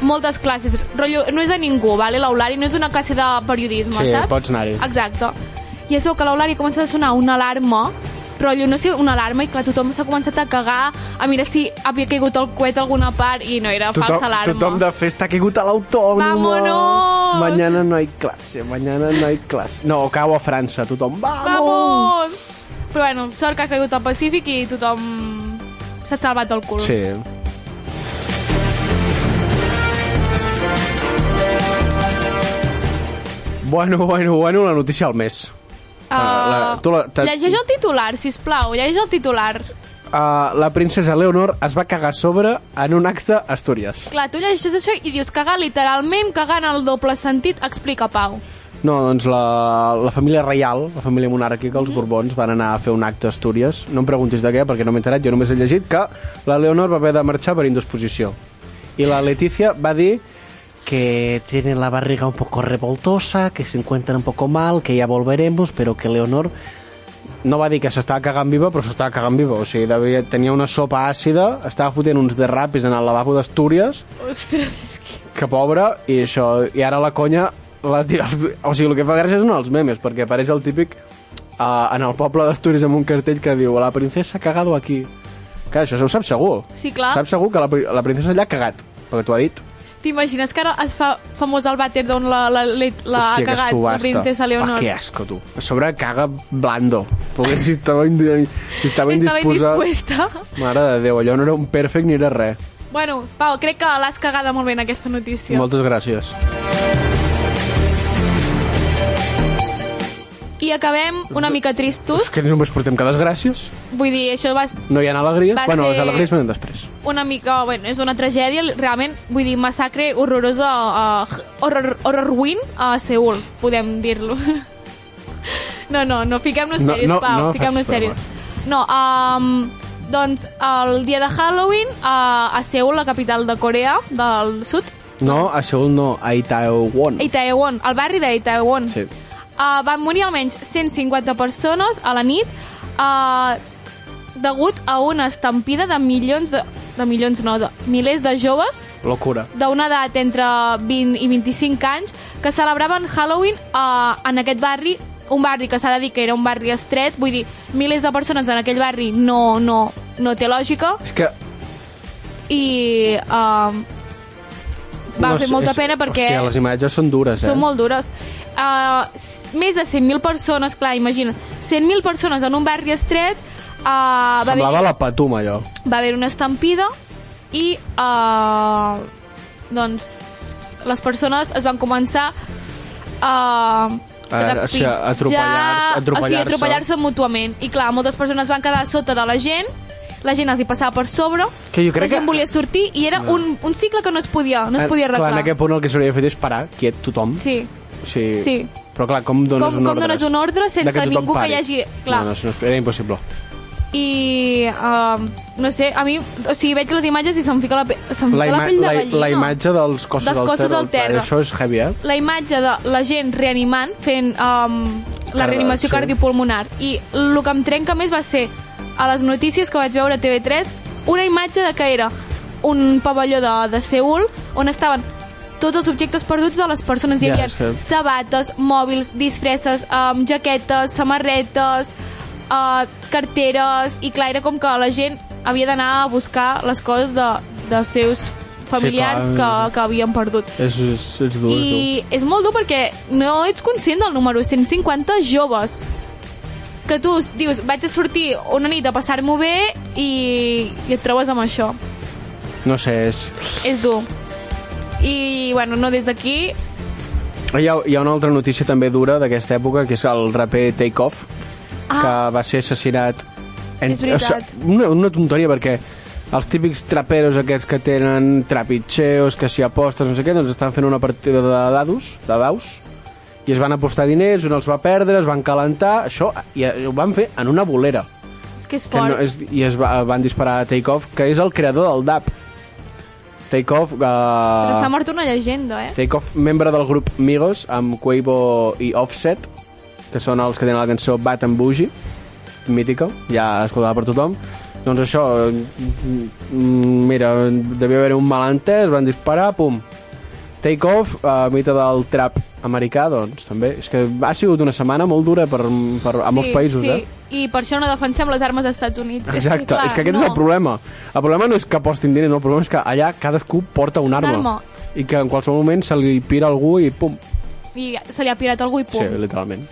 [SPEAKER 9] moltes classes. Rotllo, no és a ningú, vale? l'Aulari no és una classe de periodisme,
[SPEAKER 7] Sí,
[SPEAKER 9] saps?
[SPEAKER 7] pots anar-hi.
[SPEAKER 9] Exacte. I és veu que a l'Eulària comença a sonar una alarma, rotllo, no sé, una alarma, i clar, tothom s'ha començat a cagar, a mirar si havia caigut el coet a alguna part, i no era falsa alarma.
[SPEAKER 7] tothom de festa ha caigut a l'autònoma.
[SPEAKER 9] Vámonos!
[SPEAKER 7] Mañana no hay clase, mañana no hay clase. No, cau a França, tothom, vamos!
[SPEAKER 9] Vamos! Però bueno, sort que ha caigut al Pacífic i tothom s'ha salvat del cul.
[SPEAKER 7] Sí. Bueno, bueno, bueno, la notícia del mes.
[SPEAKER 9] Uh,
[SPEAKER 7] Ah, la- tu la- t'ha-
[SPEAKER 9] Llegeix el titular, si plau, llegeix el titular.
[SPEAKER 7] Uh, la princesa Leonor es va cagar a sobre en un acte a Astúries.
[SPEAKER 9] Clar, tu llegeixes això i dius cagar literalment, cagar en el doble sentit, explica Pau.
[SPEAKER 7] No, doncs la, la família reial, la família monàrquica, els Borbons, van anar a fer un acte a Astúries. No em preguntis de què, perquè no m'he enterat, jo només he llegit que la Leonor va haver de marxar per indisposició. I la Letícia va dir
[SPEAKER 8] que tiene la barriga un poco revoltosa, que se encuentra un poco mal, que ya volveremos, pero que Leonor...
[SPEAKER 7] no va dir que s'estava cagant viva, però s'estava cagant viva. O sigui, devia, tenia una sopa àcida, estava fotent uns derrapis en el lavabo d'Astúries,
[SPEAKER 9] Ostres, és que...
[SPEAKER 7] que pobra, i això... I ara la conya... La tira, als- o sigui, el que fa gràcia són els memes, perquè apareix el típic uh, en el poble d'Astúries amb un cartell que diu la princesa ha cagado aquí. Clar, això ho saps segur.
[SPEAKER 9] Sí, clar.
[SPEAKER 7] Saps segur que la, pri- la princesa allà ha cagat, perquè t'ho ha dit.
[SPEAKER 9] T'imagines que ara es fa famós el vàter d'on la, la, la, la ha cagat
[SPEAKER 7] Hòstia, que
[SPEAKER 9] la
[SPEAKER 7] subhasta.
[SPEAKER 9] princesa Leonor?
[SPEAKER 7] Ah, que asco, tu. A sobre caga blando, perquè si estava, indi- si estava
[SPEAKER 9] Estava
[SPEAKER 7] indisposat...
[SPEAKER 9] indispuesta. [LAUGHS]
[SPEAKER 7] Mare de Déu, allò no era un perfect ni era res.
[SPEAKER 9] Bueno, Pau, crec que l'has cagada molt bé en aquesta notícia.
[SPEAKER 7] Moltes gràcies.
[SPEAKER 9] I acabem una mica tristos.
[SPEAKER 7] És que només portem que desgràcies,
[SPEAKER 9] Vull dir, això va,
[SPEAKER 7] no hi ha alegries.
[SPEAKER 9] Va
[SPEAKER 7] bueno, les
[SPEAKER 9] ser-
[SPEAKER 7] alegries venen després.
[SPEAKER 9] una mica... Bueno, és una tragèdia, realment, vull dir, massacre horrorosa, uh, horror, horror win a Seul, podem dir-lo. [LAUGHS] No, no, no, fiquem-nos
[SPEAKER 7] No,
[SPEAKER 9] serios,
[SPEAKER 7] no,
[SPEAKER 9] Pau,
[SPEAKER 7] no
[SPEAKER 9] fiquem-nos
[SPEAKER 7] facis
[SPEAKER 9] serios. No, um, doncs el dia de Halloween uh, a Seul, la capital de Corea del Sud,
[SPEAKER 7] No, a Seul no, a Itaewon.
[SPEAKER 9] a Itaewon, al barri d'Itaewon.
[SPEAKER 7] Sí.
[SPEAKER 9] Uh, van morir almenys 150 persones a la nit uh, degut a una estampida de milions de, de milions no, de milers de joves
[SPEAKER 7] Locura.
[SPEAKER 9] d'una edat entre 20 i 25 anys que celebraven Halloween uh, en aquest barri un barri que s'ha de dir que era un barri estret, vull dir, milers de persones en aquell barri no, no, no té lògica
[SPEAKER 7] És que...
[SPEAKER 9] i uh, va
[SPEAKER 7] no
[SPEAKER 9] fer
[SPEAKER 7] sé,
[SPEAKER 9] molta
[SPEAKER 7] és-
[SPEAKER 9] pena perquè
[SPEAKER 7] Hòstia, les imatges són dures, eh?
[SPEAKER 9] són molt dures. Eh, Uh, més de 100.000 persones, clar, imagina, 100.000 persones en un barri estret, uh, Uh, va haver
[SPEAKER 7] Semblava la patuma, allò.
[SPEAKER 9] va haver una estampida i eh, doncs les persones es van començar a
[SPEAKER 7] A- o sigui, a atropellar-se-
[SPEAKER 9] o sigui,
[SPEAKER 7] atropellar-se.
[SPEAKER 9] atropellar-se mútuament i clar, moltes persones van quedar sota de la gent la gent els hi passava per sobre
[SPEAKER 7] Que jo crec
[SPEAKER 9] la gent
[SPEAKER 7] que-
[SPEAKER 9] volia sortir i era un, un cicle que no es podia no es
[SPEAKER 7] Eh,
[SPEAKER 9] podia arreglar
[SPEAKER 7] Clar, en aquest punt el que s'hauria fet és parar, quiet, tothom.
[SPEAKER 9] sí.
[SPEAKER 7] O sigui,
[SPEAKER 9] Sí.
[SPEAKER 7] Però clar, com dones
[SPEAKER 9] Com-
[SPEAKER 7] un
[SPEAKER 9] com
[SPEAKER 7] ordre?
[SPEAKER 9] dones un ordre sense
[SPEAKER 7] De tothom
[SPEAKER 9] ningú que
[SPEAKER 7] pari?
[SPEAKER 9] hi hagi- clar.
[SPEAKER 7] No, no, això no, era impossible.
[SPEAKER 9] i uh, no sé, a mi o sigui, veig les imatges i se'm fica la, pe se'm fica la,
[SPEAKER 7] ima-
[SPEAKER 9] pell de
[SPEAKER 7] la,
[SPEAKER 9] gallina
[SPEAKER 7] la imatge dels cossos,
[SPEAKER 9] Dels cossos al terra.
[SPEAKER 7] Això és heavy, eh?
[SPEAKER 9] la imatge de la gent reanimant, fent um, la
[SPEAKER 7] Carda,
[SPEAKER 9] reanimació
[SPEAKER 7] sí.
[SPEAKER 9] cardiopulmonar. I el que em trenca més va ser a les notícies que vaig veure a TV3 una imatge de que era un pavelló de, de Seul on estaven tots els objectes perduts de les persones. Hi
[SPEAKER 7] Ja,
[SPEAKER 9] havia
[SPEAKER 7] és que-
[SPEAKER 9] sabates, mòbils, disfresses, um, jaquetes, samarretes, uh, carteres... I clar, era com que la gent havia d'anar a buscar les coses de, dels seus familiars que,
[SPEAKER 7] clar.
[SPEAKER 9] que havien perdut.
[SPEAKER 7] És, és, és dur, és
[SPEAKER 9] I és molt dur perquè no ets conscient del número 150 joves que tu dius, vaig a sortir una nit a passar-m'ho bé i, i et trobes amb això.
[SPEAKER 7] dur. No sé, és...
[SPEAKER 9] És dur. I, bueno, no des d'aquí...
[SPEAKER 7] Hi ha, hi ha una altra notícia també dura d'aquesta època, que és el raper Take Off, ah. que
[SPEAKER 9] Ah,
[SPEAKER 7] va ser assassinat... En...
[SPEAKER 9] És veritat.
[SPEAKER 7] una, una tonteria, perquè els típics traperos aquests que tenen trapitxeos, que s'hi apostes, no sé què, doncs estan fent una partida de dados, de daus, i es van apostar diners, un els va perdre, es van calentar, això, i eh, ho van fer en una bolera.
[SPEAKER 9] és que és
[SPEAKER 7] Que
[SPEAKER 9] fort.
[SPEAKER 7] no, és, I es va, van disparar a Take Off, que és el creador del DAP. Take Off...
[SPEAKER 9] Però s'ha
[SPEAKER 7] Eh,
[SPEAKER 9] mort una llegenda, eh?
[SPEAKER 7] Take Off, membre del grup Migos, amb Quavo i Offset, que són els que tenen la cançó Bat and Bougie, mítica, ja escoltada per tothom. Doncs això, mm, mm, mira, devia haver un malentès, van disparar, pum. Take Off, eh, mite del trap americà, doncs, també. És que ha sigut una setmana molt dura per, per, a molts països,
[SPEAKER 9] sí.
[SPEAKER 7] eh?
[SPEAKER 9] I per això no defensem les armes als Estats Units.
[SPEAKER 7] Exacte,
[SPEAKER 9] és que, clar,
[SPEAKER 7] és que aquest
[SPEAKER 9] no.
[SPEAKER 7] és el problema. El problema no és que apostin diners, no, el problema és que allà cadascú porta una arma.
[SPEAKER 9] arma.
[SPEAKER 7] I que en qualsevol moment se li pira algú i pum.
[SPEAKER 9] I se li ha pirat algú i pum.
[SPEAKER 7] Sí, literalment.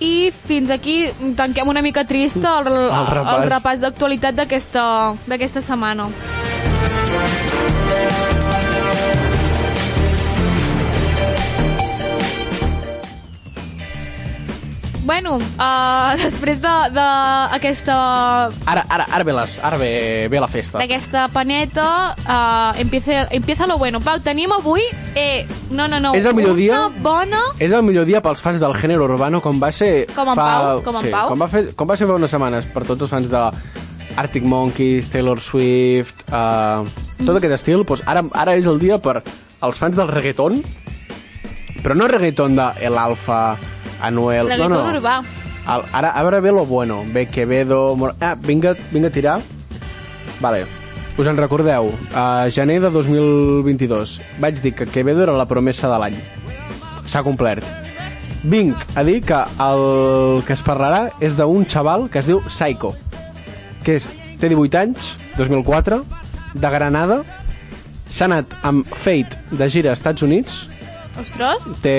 [SPEAKER 9] I fins aquí tanquem una mica trista el, el,
[SPEAKER 7] repàs.
[SPEAKER 9] el repàs d'actualitat d'aquesta d'aquesta setmana. Bueno, uh, [LAUGHS] després d'aquesta de, aquesta
[SPEAKER 7] Ara, ara, ara ve, les, ara ve, ve la festa.
[SPEAKER 9] d'aquesta paneta uh, empieza, empieza lo bueno. Pau, tenim avui eh, no, no, no,
[SPEAKER 7] És el millor
[SPEAKER 9] una
[SPEAKER 7] dia?
[SPEAKER 9] bona...
[SPEAKER 7] És el millor dia pels fans del gènere urbano, com va ser...
[SPEAKER 9] Com en
[SPEAKER 7] fa...
[SPEAKER 9] Pau, com en
[SPEAKER 7] sí,
[SPEAKER 9] Pau.
[SPEAKER 7] Com va, fer, com va ser fa unes setmanes per tots els fans de Arctic Monkeys, Taylor Swift, uh, tot aquest estil. Doncs ara, ara és el dia per als fans del reggaeton, però no reggaeton de El Alfa, Anuel...
[SPEAKER 9] Reggaeton
[SPEAKER 7] no, no.
[SPEAKER 9] urbà.
[SPEAKER 7] El, ara, ara ve lo bueno. Ve Quevedo... Mor... Ah, vinga, vinga a tirar. Vale. Us en recordeu, a gener de 2022 vaig dir que Quevedo era la promesa de l'any. S'ha complert. Vinc a dir que el que es parlarà és d'un xaval que es diu Psycho, que és, té 18 anys, 2004, de Granada, s'ha anat amb Fate de gira a Estats Units,
[SPEAKER 9] Ostres,
[SPEAKER 7] té,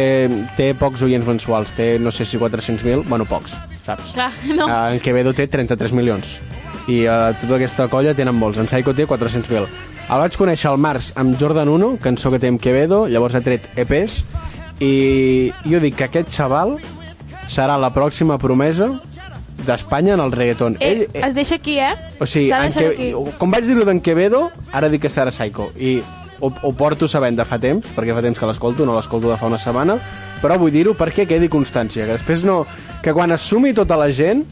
[SPEAKER 7] té pocs oients mensuals, té no sé si 400.000, bueno, pocs, saps?
[SPEAKER 9] clar, no.
[SPEAKER 7] Eh, en Quevedo té 33 milions. I eh, tota aquesta colla tenen molts. En Psycho té 400.000. El vaig conèixer al març amb Jordan 1, cançó que té amb Quevedo, llavors ha tret EPs, i jo dic que aquest xaval serà la pròxima promesa d'Espanya en el reggaeton.
[SPEAKER 9] Ell, es deixa aquí, eh?
[SPEAKER 7] O sigui,
[SPEAKER 9] S'ha
[SPEAKER 7] en
[SPEAKER 9] deixat
[SPEAKER 7] que, com vaig dir-ho d'en Quevedo, ara dic que serà Psycho. I ho, ho porto sabent de fa temps, perquè fa temps que l'escolto, no l'escolto de fa una setmana, però vull dir-ho perquè quedi constància, que després no... Que quan es sumi tota la gent,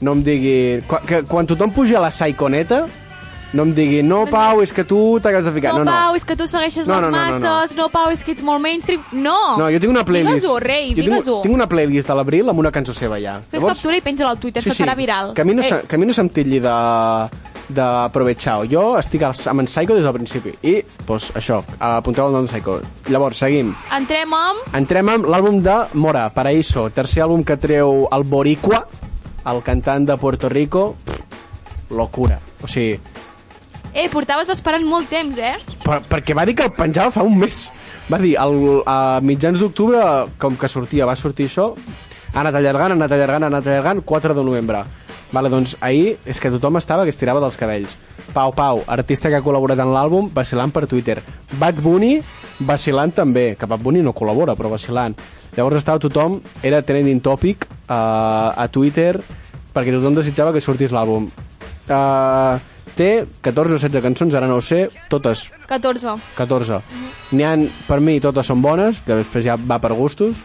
[SPEAKER 7] no em digui... Quan, que, quan tothom pugi a la Psychoneta, no em digui, no, Pau, és que tu t'has de ficar.
[SPEAKER 9] No,
[SPEAKER 7] No, no.
[SPEAKER 9] Pau, és que tu segueixes
[SPEAKER 7] No,
[SPEAKER 9] les
[SPEAKER 7] no, no, no,
[SPEAKER 9] masses,
[SPEAKER 7] no.
[SPEAKER 9] no, Pau, és que ets molt mainstream. No!
[SPEAKER 7] No, jo tinc una playlist.
[SPEAKER 9] Digues-ho, rei,
[SPEAKER 7] Jo tinc,
[SPEAKER 9] digues-ho.
[SPEAKER 7] tinc una playlist a l'abril amb una cançó seva ja.
[SPEAKER 9] Fes captura i penja-la al Twitter, sí, sí. farà viral. Eh.
[SPEAKER 7] Que a mi no,
[SPEAKER 9] Ei,
[SPEAKER 7] se- que a mi no se'm titlli de d'aprovechar. Jo estic als- amb en Psycho des del principi. I, doncs, això, apunteu el nom de Psycho. Llavors, seguim.
[SPEAKER 9] Entrem amb...
[SPEAKER 7] Entrem amb l'àlbum de Mora, Paraíso, tercer àlbum que treu el Boricua, el cantant de Puerto Rico. Pff, Locura. O sigui,
[SPEAKER 9] Eh, portaves esperant molt temps, eh?
[SPEAKER 7] per, perquè va dir que el penjava fa un mes. Va dir, el, a mitjans d'octubre, com que sortia, va sortir això, ha anat allargant, ha anat allargant, ha anat allargant, 4 de novembre. Vale, doncs ahir és que tothom estava que es tirava dels cabells. Pau Pau, artista que ha col·laborat en l'àlbum, vacilant per Twitter. Bad Bunny, vacilant també, que Bad Bunny no col·labora, però vacilant. Llavors estava tothom, era trending topic uh, a Twitter, perquè tothom desitjava que sortís l'àlbum. Uh, té 14 o 16 cançons, ara no ho sé, totes
[SPEAKER 9] 14.
[SPEAKER 7] 14. N'hi han, per mi, totes són bones, que després ja va per gustos.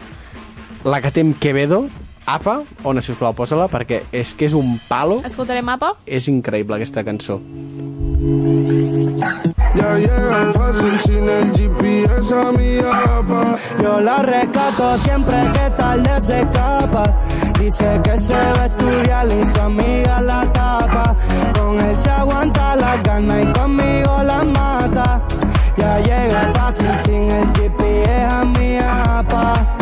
[SPEAKER 7] La que té amb Quevedo, Apa, on, si us plau, posa-la, perquè és que és un palo,
[SPEAKER 9] Escoltaré mapa.
[SPEAKER 7] és increïble aquesta cançó.
[SPEAKER 1] Ya llegan fácil sin el GPS a mi apa.
[SPEAKER 10] Yo la rescato siempre que tarde se escapa. Dice que se va a estudiar y su amiga la tapa. Con él se aguanta la gana y conmigo la mata. Ya llega fácil sin el GPS a mi apa.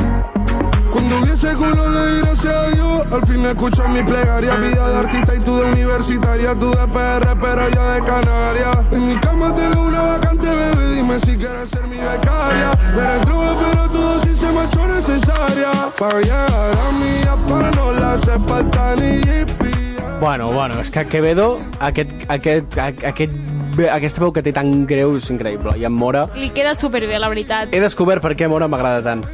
[SPEAKER 1] Cuando vi ese culo le di gracias a Dios. Al fin escuchas mi plegaria, vida de artista y tú de universitaria, tú de PR, pero yo de Canarias. En mi cama tengo una vacante, bebé, dime si quieres ser mi becaria. Me retrube, pero tu dosis se me ha hecho necesaria. Para llegar a mi apa no le hace falta ni GPS.
[SPEAKER 7] Bueno, bueno, és que Quevedo, aquest, aquest, a- aquest, ve- aquesta veu que té tan greu és increïble. I en Mora...
[SPEAKER 9] Li queda superbé, la veritat.
[SPEAKER 7] He descobert per què Mora m'agrada tant.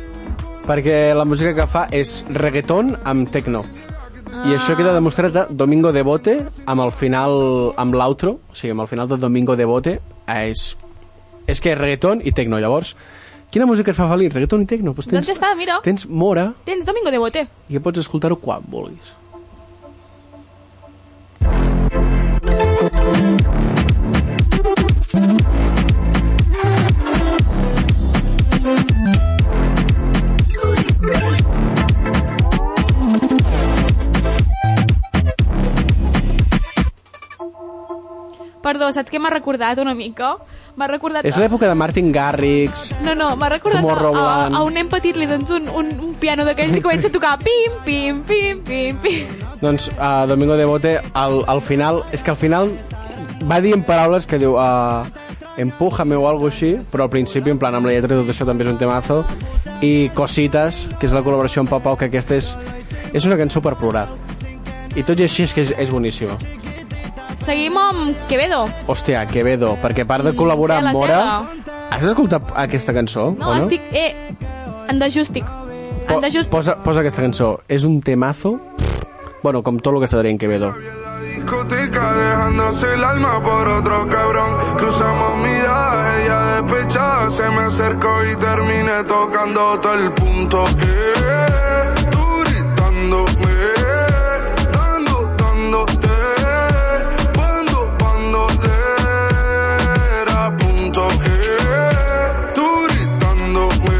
[SPEAKER 7] Perquè la música que fa és reggaeton amb techno. I això
[SPEAKER 9] Ah.
[SPEAKER 7] queda demostrat a Domingo de Bote amb el final, amb l'outro, o sigui, amb el final de Domingo de Bote, eh, és, és que és reggaeton i techno, llavors. Quina música et fa feliç? Reggaeton i techno? Doncs
[SPEAKER 9] Doncs ja
[SPEAKER 7] tens,
[SPEAKER 9] està, mira.
[SPEAKER 7] tens Mora
[SPEAKER 9] Tens Domingo de Bote.
[SPEAKER 7] i que pots escoltar-ho quan vulguis.
[SPEAKER 9] Perdó, saps què m'ha recordat una mica? M'ha recordat...
[SPEAKER 7] És l'època de Martin Garrix,
[SPEAKER 9] No, no, m'ha recordat a, a,
[SPEAKER 7] Tomorrowland.
[SPEAKER 9] a, un nen petit li dones un, un, un piano d'aquells i comença a tocar pim, pim, pim, pim, pim.
[SPEAKER 7] Doncs uh, Domingo de Bote al, al final, és que al final va dir en paraules que diu uh, empújame o algo així, però al principi en plan amb la lletra i tot això també és un temazo i Cositas, que és la col·laboració amb Pau Pau, que aquesta és, és una cançó per plorar i tot i així és que és, és boníssima
[SPEAKER 9] Seguim amb Quevedo.
[SPEAKER 7] hòstia, Quevedo, perquè a part de
[SPEAKER 9] Mm,
[SPEAKER 7] col·laborar
[SPEAKER 9] tela,
[SPEAKER 7] amb Mora has escoltat aquesta cançó?
[SPEAKER 9] No,
[SPEAKER 7] o no?
[SPEAKER 9] estic... Eh, en dejústic. En dejústic.
[SPEAKER 7] posa, posa aquesta cançó, és un temazo bueno, com tot el que està dient Quevedo
[SPEAKER 1] discoteca dejándose el alma por otro cabrón. Cruzamos miradas, ella despechada se me acercó y terminé tocando todo el punto. Eh, tú gritándome, dando, dándote, cuando, cuando le era punto. Eh, tú gritándome,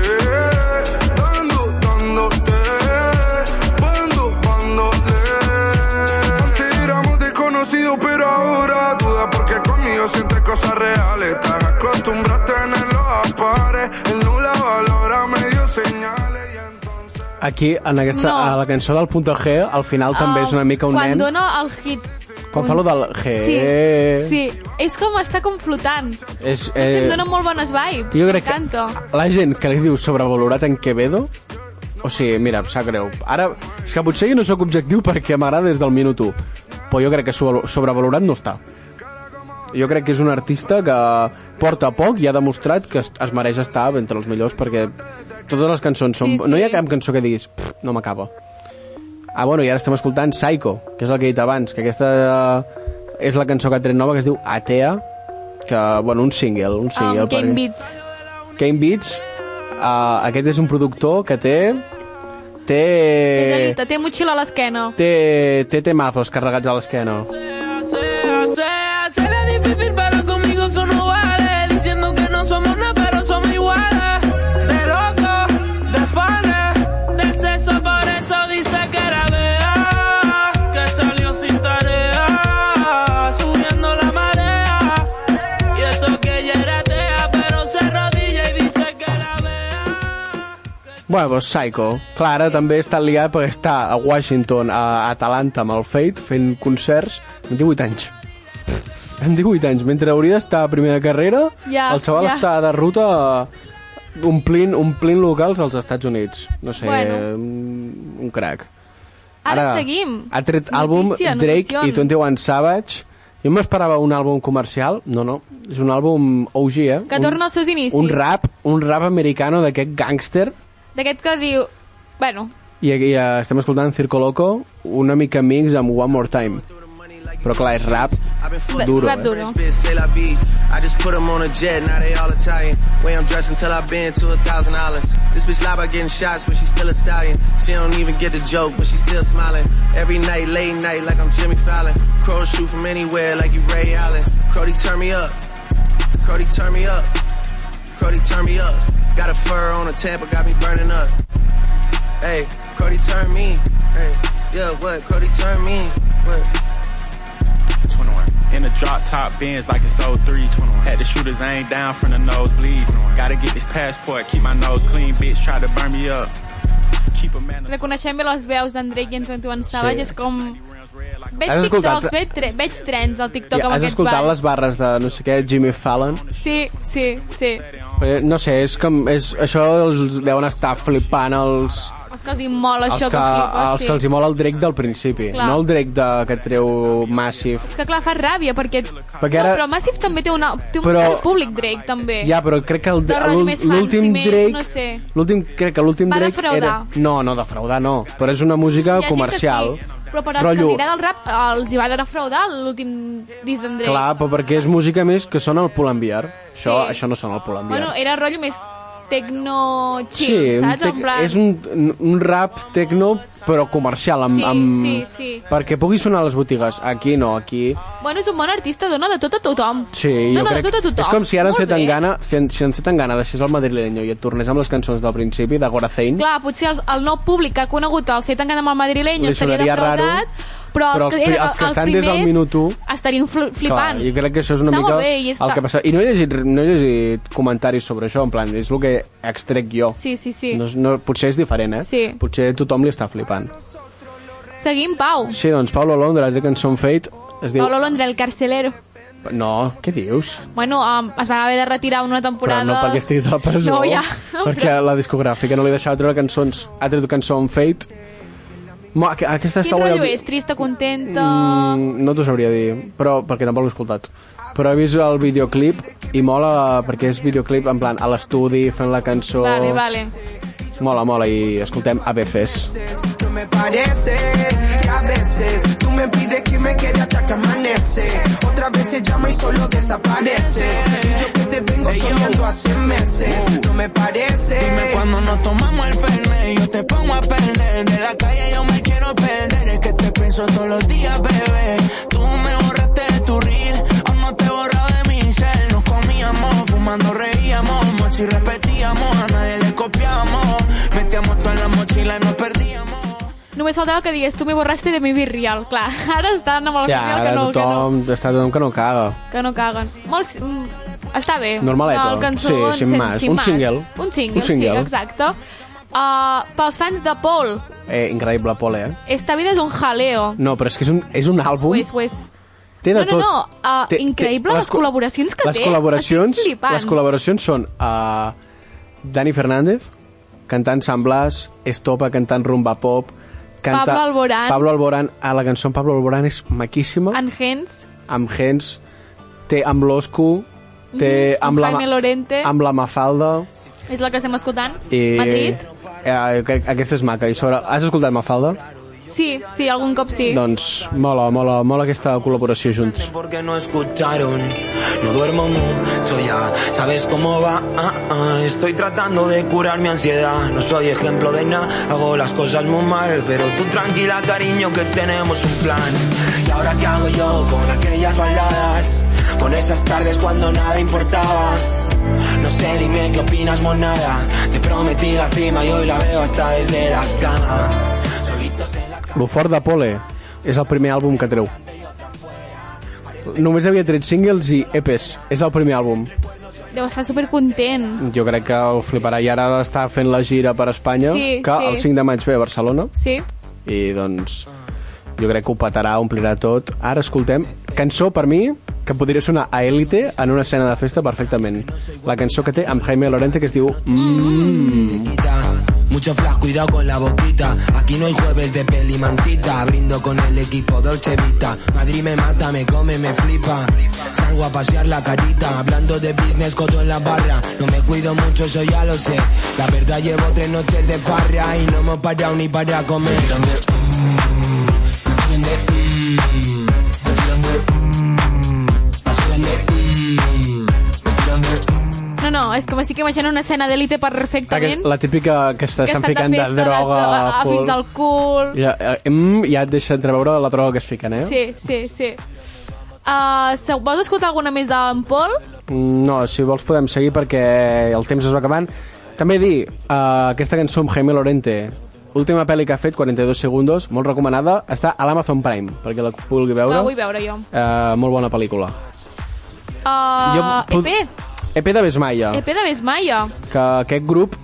[SPEAKER 1] dando, dándote, cuando, cuando le antes éramos desconocidos, pero ahora dudas porque conmigo sientes cosas reales. Te acostumbraste a tenerlos a pares. Él no la valora, me dio señales. y entonces-
[SPEAKER 7] Aquí, en aquesta,
[SPEAKER 9] No. Ah,
[SPEAKER 7] a la cançó del punto G, al final també és una mica un
[SPEAKER 9] quan
[SPEAKER 7] nen...
[SPEAKER 9] Quan dona el hit.
[SPEAKER 7] Quan fa lo del G.
[SPEAKER 9] Sí, sí. És com està com flotant.
[SPEAKER 7] És,
[SPEAKER 9] Eh, em
[SPEAKER 7] eh,
[SPEAKER 9] dona molt bones vibes.
[SPEAKER 7] jo crec que
[SPEAKER 9] M'encanta.
[SPEAKER 7] la gent que li diu sobrevalorat en Quevedo, o sigui, mira, em sap greu. Ara, és que potser jo no sóc objectiu perquè m'agrada des del minut 1, però jo crec que sobre- sobrevalorat no està. Jo crec que és un artista que porta poc i ha demostrat que es, es mereix estar entre els millors perquè totes les cançons són...
[SPEAKER 9] Sí, sí.
[SPEAKER 7] No hi ha cap cançó que diguis, "Pff, no m'acaba. Ah, bueno, i ara estem escoltant Psycho, que és el que he dit abans, que aquesta eh, és la cançó que ha tret nova, que es diu Atea, que, bueno, un single, un
[SPEAKER 9] Sí,
[SPEAKER 7] single.
[SPEAKER 9] um, Game
[SPEAKER 7] perquè-
[SPEAKER 9] Beats.
[SPEAKER 7] Game Beats, uh, aquest és un productor que té... Té...
[SPEAKER 9] Té galita, té motxilla a l'esquena.
[SPEAKER 7] Eh, Té, té temazos carregats a l'esquena.
[SPEAKER 10] Se la difícil, pero conmigo eso no vale. Diciendo que no somos nada, pero somos iguales. De loco, de fanes, del sexo, por eso dice que era vea. Que salió sin tarea, subiendo la marea. Y eso que ella era atea, pero se arrodilla y dice que la vea.
[SPEAKER 7] Bueno, doncs Psycho. Clara també està liada perquè està a Washington, a Atalanta, amb el Fate, fent concerts amb 18 anys. Amb 18 anys. Mentre hauria d'estar a primera carrera,
[SPEAKER 9] Ja,
[SPEAKER 7] el xaval
[SPEAKER 9] ja.
[SPEAKER 7] està de ruta eh, omplint, omplint locals als Estats Units. No sé,
[SPEAKER 9] Bueno.
[SPEAKER 7] un, un mm, crac.
[SPEAKER 9] Ara seguim.
[SPEAKER 7] Ha tret àlbum
[SPEAKER 9] Notícia,
[SPEAKER 7] Drake
[SPEAKER 9] notición.
[SPEAKER 7] i 21 Savage. Jo m'esperava un àlbum comercial. No, no. És un àlbum OG, eh?
[SPEAKER 9] Que
[SPEAKER 7] un,
[SPEAKER 9] torna als seus inicis.
[SPEAKER 7] Un rap, un rap americano d'aquest gangster.
[SPEAKER 9] D'aquest que diu... Bueno,
[SPEAKER 7] I, i eh, estem escoltant Circo Loco, una mica mix amb One More Time. Però clar, és rap duro.
[SPEAKER 9] rap
[SPEAKER 7] eh?
[SPEAKER 9] duro.
[SPEAKER 11] Bitch, say la vie. I just put 'em on a jet, now they all Italian. Way I'm dressed until I've been to a thousand islands. This bitch lie about getting shots, but she still a stallion. She don't even get the joke, but she still smiling. Every night, late night, like I'm Jimmy Fallon. Crows shoot from anywhere, like you Ray Allen. Cody, turn me up. Cody, turn me up. Cody, turn me up. Got a fur on a Tampa, got me burning up. Hey, Cody, turn me. Hey, yeah, what? Cody, turn me. What?
[SPEAKER 12] 21. In the drop top bins like it's 03. 21. Had the shooters aim down from the nosebleeds. Gotta get this passport, keep my nose clean. Bitch, try to burn me up. Keep a man.
[SPEAKER 9] Reconeixem bé les veus d'en Drake i en 21 Savage,
[SPEAKER 7] Sí.
[SPEAKER 9] és com... Veig
[SPEAKER 7] Has escoltat-
[SPEAKER 9] TikToks, veig, tre veig trens al TikTok
[SPEAKER 7] I
[SPEAKER 9] amb
[SPEAKER 7] has
[SPEAKER 9] aquests
[SPEAKER 7] escoltat
[SPEAKER 9] balls.
[SPEAKER 7] les barres de no sé què, Jimmy Fallon?
[SPEAKER 9] Sí, sí, sí.
[SPEAKER 7] Eh, No sé, és com... És, això els deuen estar flipant els,
[SPEAKER 9] Els que els hi mola
[SPEAKER 7] els
[SPEAKER 9] això.
[SPEAKER 7] que, els que els hi mola el Drake del principi,
[SPEAKER 9] Clar.
[SPEAKER 7] no el Drake de, que treu Massive.
[SPEAKER 9] És que clar, fa ràbia, perquè...
[SPEAKER 7] Perquè ara-
[SPEAKER 9] No, però Massive també té, una, té un
[SPEAKER 7] Però-
[SPEAKER 9] cert públic, Drake, també.
[SPEAKER 7] Ja, però crec que el-
[SPEAKER 9] De rotllo
[SPEAKER 7] l'ul-
[SPEAKER 9] Eh, més fancy,
[SPEAKER 7] l'últim
[SPEAKER 9] més,
[SPEAKER 7] Drake...
[SPEAKER 9] no sé.
[SPEAKER 7] L'últim, crec que l'últim
[SPEAKER 9] Va
[SPEAKER 7] Drake
[SPEAKER 9] defraudar.
[SPEAKER 7] era... No, no, defraudar no, però és una
[SPEAKER 9] Hi
[SPEAKER 7] música
[SPEAKER 9] ha gent
[SPEAKER 7] comercial.
[SPEAKER 9] Que sí, però per als que
[SPEAKER 7] Rotllo-
[SPEAKER 9] els agrada el rap, els hi va defraudar l'últim disc d'en Drake.
[SPEAKER 7] Clar, però perquè és música més que sona el Pull&Bear. Això,
[SPEAKER 9] Sí.
[SPEAKER 7] això no sona el Pull&Bear.
[SPEAKER 9] Bueno, era rotllo més tecno chill,
[SPEAKER 7] un
[SPEAKER 9] saps?
[SPEAKER 7] tec-
[SPEAKER 9] En plan...
[SPEAKER 7] és un, un rap tecno però comercial amb,
[SPEAKER 9] Sí,
[SPEAKER 7] amb...
[SPEAKER 9] sí, sí.
[SPEAKER 7] perquè pugui sonar a les botigues aquí no, aquí
[SPEAKER 9] Bueno, és un bon artista, dona de tot a tothom.
[SPEAKER 7] Sí,
[SPEAKER 9] dona
[SPEAKER 7] jo
[SPEAKER 9] de
[SPEAKER 7] crec...
[SPEAKER 9] tot a tothom.
[SPEAKER 7] És com si ara en
[SPEAKER 9] Molt
[SPEAKER 7] fet
[SPEAKER 9] bé.
[SPEAKER 7] en gana, si en, si en fet en gana deixés el madrileño i et tornés amb les cançons del principi, de Gorazein,
[SPEAKER 9] Clar, potser el, el nou públic que ha conegut el fet engana amb el madrileño
[SPEAKER 7] Li
[SPEAKER 9] estaria
[SPEAKER 7] sonaria raro,
[SPEAKER 9] defraudat, però,
[SPEAKER 7] però
[SPEAKER 9] els, que,
[SPEAKER 7] els pri-
[SPEAKER 9] eren,
[SPEAKER 7] els que estan des
[SPEAKER 9] primers
[SPEAKER 7] del minut u-
[SPEAKER 9] estarien fl flipant.
[SPEAKER 7] jo crec que això és una
[SPEAKER 9] Està
[SPEAKER 7] mica
[SPEAKER 9] molt bé, i està...
[SPEAKER 7] el que passa. I no he, llegit, no he llegit comentaris sobre això, en plan, és el que extrec jo.
[SPEAKER 9] Sí, sí, sí.
[SPEAKER 7] No, és- no, potser és diferent, eh?
[SPEAKER 9] Sí.
[SPEAKER 7] Potser tothom li està flipant.
[SPEAKER 9] Seguim, Pau.
[SPEAKER 7] Sí, doncs Paulo Londra, té cançó Fate, es diu...
[SPEAKER 9] Paulo Londra, el carcelero.
[SPEAKER 7] No, què dius?
[SPEAKER 9] Bueno, um, es va haver de retirar una temporada...
[SPEAKER 7] Però no perquè estiguis a la presó,
[SPEAKER 9] No, ja.
[SPEAKER 7] [LAUGHS] perquè la discogràfica no li deixava treure cançons. Ha tret cançó amb Fate. Ma, aqu- aquesta
[SPEAKER 9] Quin
[SPEAKER 7] està guai.
[SPEAKER 9] rotllo
[SPEAKER 7] el-
[SPEAKER 9] és? Trista, contenta...
[SPEAKER 7] Mm, no t'ho sabria dir, però perquè tampoc l'he escoltat. Però he vist el videoclip i mola perquè és videoclip en plan a l'estudi, fent la cançó...
[SPEAKER 9] Vale, vale.
[SPEAKER 7] Mola, mola, i escoltem a veces.
[SPEAKER 13] tú me pareces. Y a veces tú me pides que me quede hasta que amanece. Otras veces llama y solo desapareces. Y yo que te vengo soñando hace meses. No me parece.
[SPEAKER 10] Uh. Dime cuando nos tomamos el fernet, yo te pongo a perder. De la calle yo me quiero perder, es que te pienso todos los días, bebé. Tú me borraste de tu reel, aún no te he borrado de mi cel. Nos comíamos, fumando reíamos, mochi repetíamos, a nadie le copiábamos. Metíamos todas las mochilas y nos perdíamos.
[SPEAKER 9] Només faltava que digués, tu me borraste de mi virrial. Clar, [LAUGHS] ara estan amb el
[SPEAKER 7] Ja,
[SPEAKER 9] virrial que
[SPEAKER 7] ara
[SPEAKER 9] no, que no,
[SPEAKER 7] tothom, està tothom que no caga.
[SPEAKER 9] que no caguen. Molts, mm, està bé.
[SPEAKER 7] Normaleta.
[SPEAKER 9] El cançó,
[SPEAKER 7] Sí, sin más. Un single.
[SPEAKER 9] Un single,
[SPEAKER 7] Un single.
[SPEAKER 9] sí, exacte. Uh, pels fans de Paul,
[SPEAKER 7] Eh, increïble, Pol, eh?
[SPEAKER 9] esta vida és un jaleo.
[SPEAKER 7] No, però és que és un, és un àlbum...
[SPEAKER 9] Ho és, ho és.
[SPEAKER 7] Té
[SPEAKER 9] no,
[SPEAKER 7] de
[SPEAKER 9] no,
[SPEAKER 7] tot.
[SPEAKER 9] no, uh,
[SPEAKER 7] Té- té-
[SPEAKER 9] increïble les,
[SPEAKER 7] co-
[SPEAKER 9] col·laboracions que
[SPEAKER 7] les
[SPEAKER 9] té.
[SPEAKER 7] Col·laboracions,
[SPEAKER 9] Estic flipant.
[SPEAKER 7] les col·laboracions són uh, Dani Fernández, cantant San Blas, Estopa, cantant Rumba Pop, canta
[SPEAKER 9] Pablo Alborán.
[SPEAKER 7] Pablo Alborán. Ah, la cançó amb Pablo Alborán és maquíssima.
[SPEAKER 9] En Gens,
[SPEAKER 7] Amb Gens, té amb l'Oscu, té
[SPEAKER 9] Mhm, amb
[SPEAKER 7] amb,
[SPEAKER 9] Jaime
[SPEAKER 7] la,
[SPEAKER 9] Lorente.
[SPEAKER 7] amb la Mafalda.
[SPEAKER 9] és la que estem escoltant.
[SPEAKER 7] I,
[SPEAKER 9] Madrid.
[SPEAKER 7] Eh, crec- aquesta és maca. I sobre, has escoltat Mafalda?
[SPEAKER 9] Sí, sí, algun cop sí.
[SPEAKER 7] Doncs mola, mola, mola aquesta col·laboració junts.
[SPEAKER 14] porque no escucharon. No duermo mucho ya, sabes cómo va. Ah, ah, Estoy tratando de curar mi ansiedad. No soy ejemplo de nada, hago las cosas muy mal. Pero tú tranquila, cariño, que tenemos un plan. ¿Y ahora qué hago yo con aquellas baladas? Con esas tardes cuando nada importaba. No sé, dime qué opinas, monada. Te prometí la cima y hoy la veo hasta desde la cama. Solitos en la
[SPEAKER 7] Lo fort de Pole és el primer àlbum que treu. Només havia tret singles i EPs. És el primer àlbum.
[SPEAKER 9] Deu estar supercontent.
[SPEAKER 7] Jo crec que ho fliparà. I ara està fent la gira per Espanya,
[SPEAKER 9] Sí,
[SPEAKER 7] que
[SPEAKER 9] sí.
[SPEAKER 7] el 5 de maig ve a Barcelona.
[SPEAKER 9] Sí.
[SPEAKER 7] I doncs jo crec que ho petarà, omplirà tot. Ara escoltem cançó, per mi, que podria sonar a Elite en una escena de
[SPEAKER 9] Mm-hmm.
[SPEAKER 7] festa perfectament. La cançó que té amb Jaime Lorente que es diu... Mm.
[SPEAKER 14] Muchas mucho flash, cuidado con la boquita. Aquí no hay jueves de peli mantita. Brindo con el equipo Dolce Vita. Madrid me mata, me come, me flipa. Salgo a pasear la carita. Hablando de business, coto en la barra. No me cuido mucho, eso ya lo sé. La verdad, llevo tres noches de farra y no hemos parado ni para comer.
[SPEAKER 9] No, no, és que m'estic imaginant una escena d'elite perfectament.
[SPEAKER 7] La típica que està-
[SPEAKER 9] que estan
[SPEAKER 7] estan
[SPEAKER 9] de
[SPEAKER 7] ficant de
[SPEAKER 9] festa, de,
[SPEAKER 7] droga...
[SPEAKER 9] a, a,
[SPEAKER 7] full.
[SPEAKER 9] fins al cul...
[SPEAKER 7] Ja, eh, mm, ja et deixa entreveure la droga que es fiquen, eh?
[SPEAKER 9] Sí, sí, sí. Uh, se, vols escoltar alguna més d'en Paul?
[SPEAKER 7] Mm, No, si vols podem seguir perquè el temps es va acabant. També dir, uh, aquesta cançó amb Jaime Lorente, última pel·li que ha fet, 42 segundos, molt recomanada, està a l'Amazon Prime, perquè la vulgui veure.
[SPEAKER 9] La vull veure jo.
[SPEAKER 7] Uh, molt bona pel·lícula.
[SPEAKER 9] Uh,
[SPEAKER 7] Jo Ah.
[SPEAKER 9] EP,
[SPEAKER 7] EP de Besmaia,
[SPEAKER 9] EP E de Besmaia.
[SPEAKER 7] que aquest grup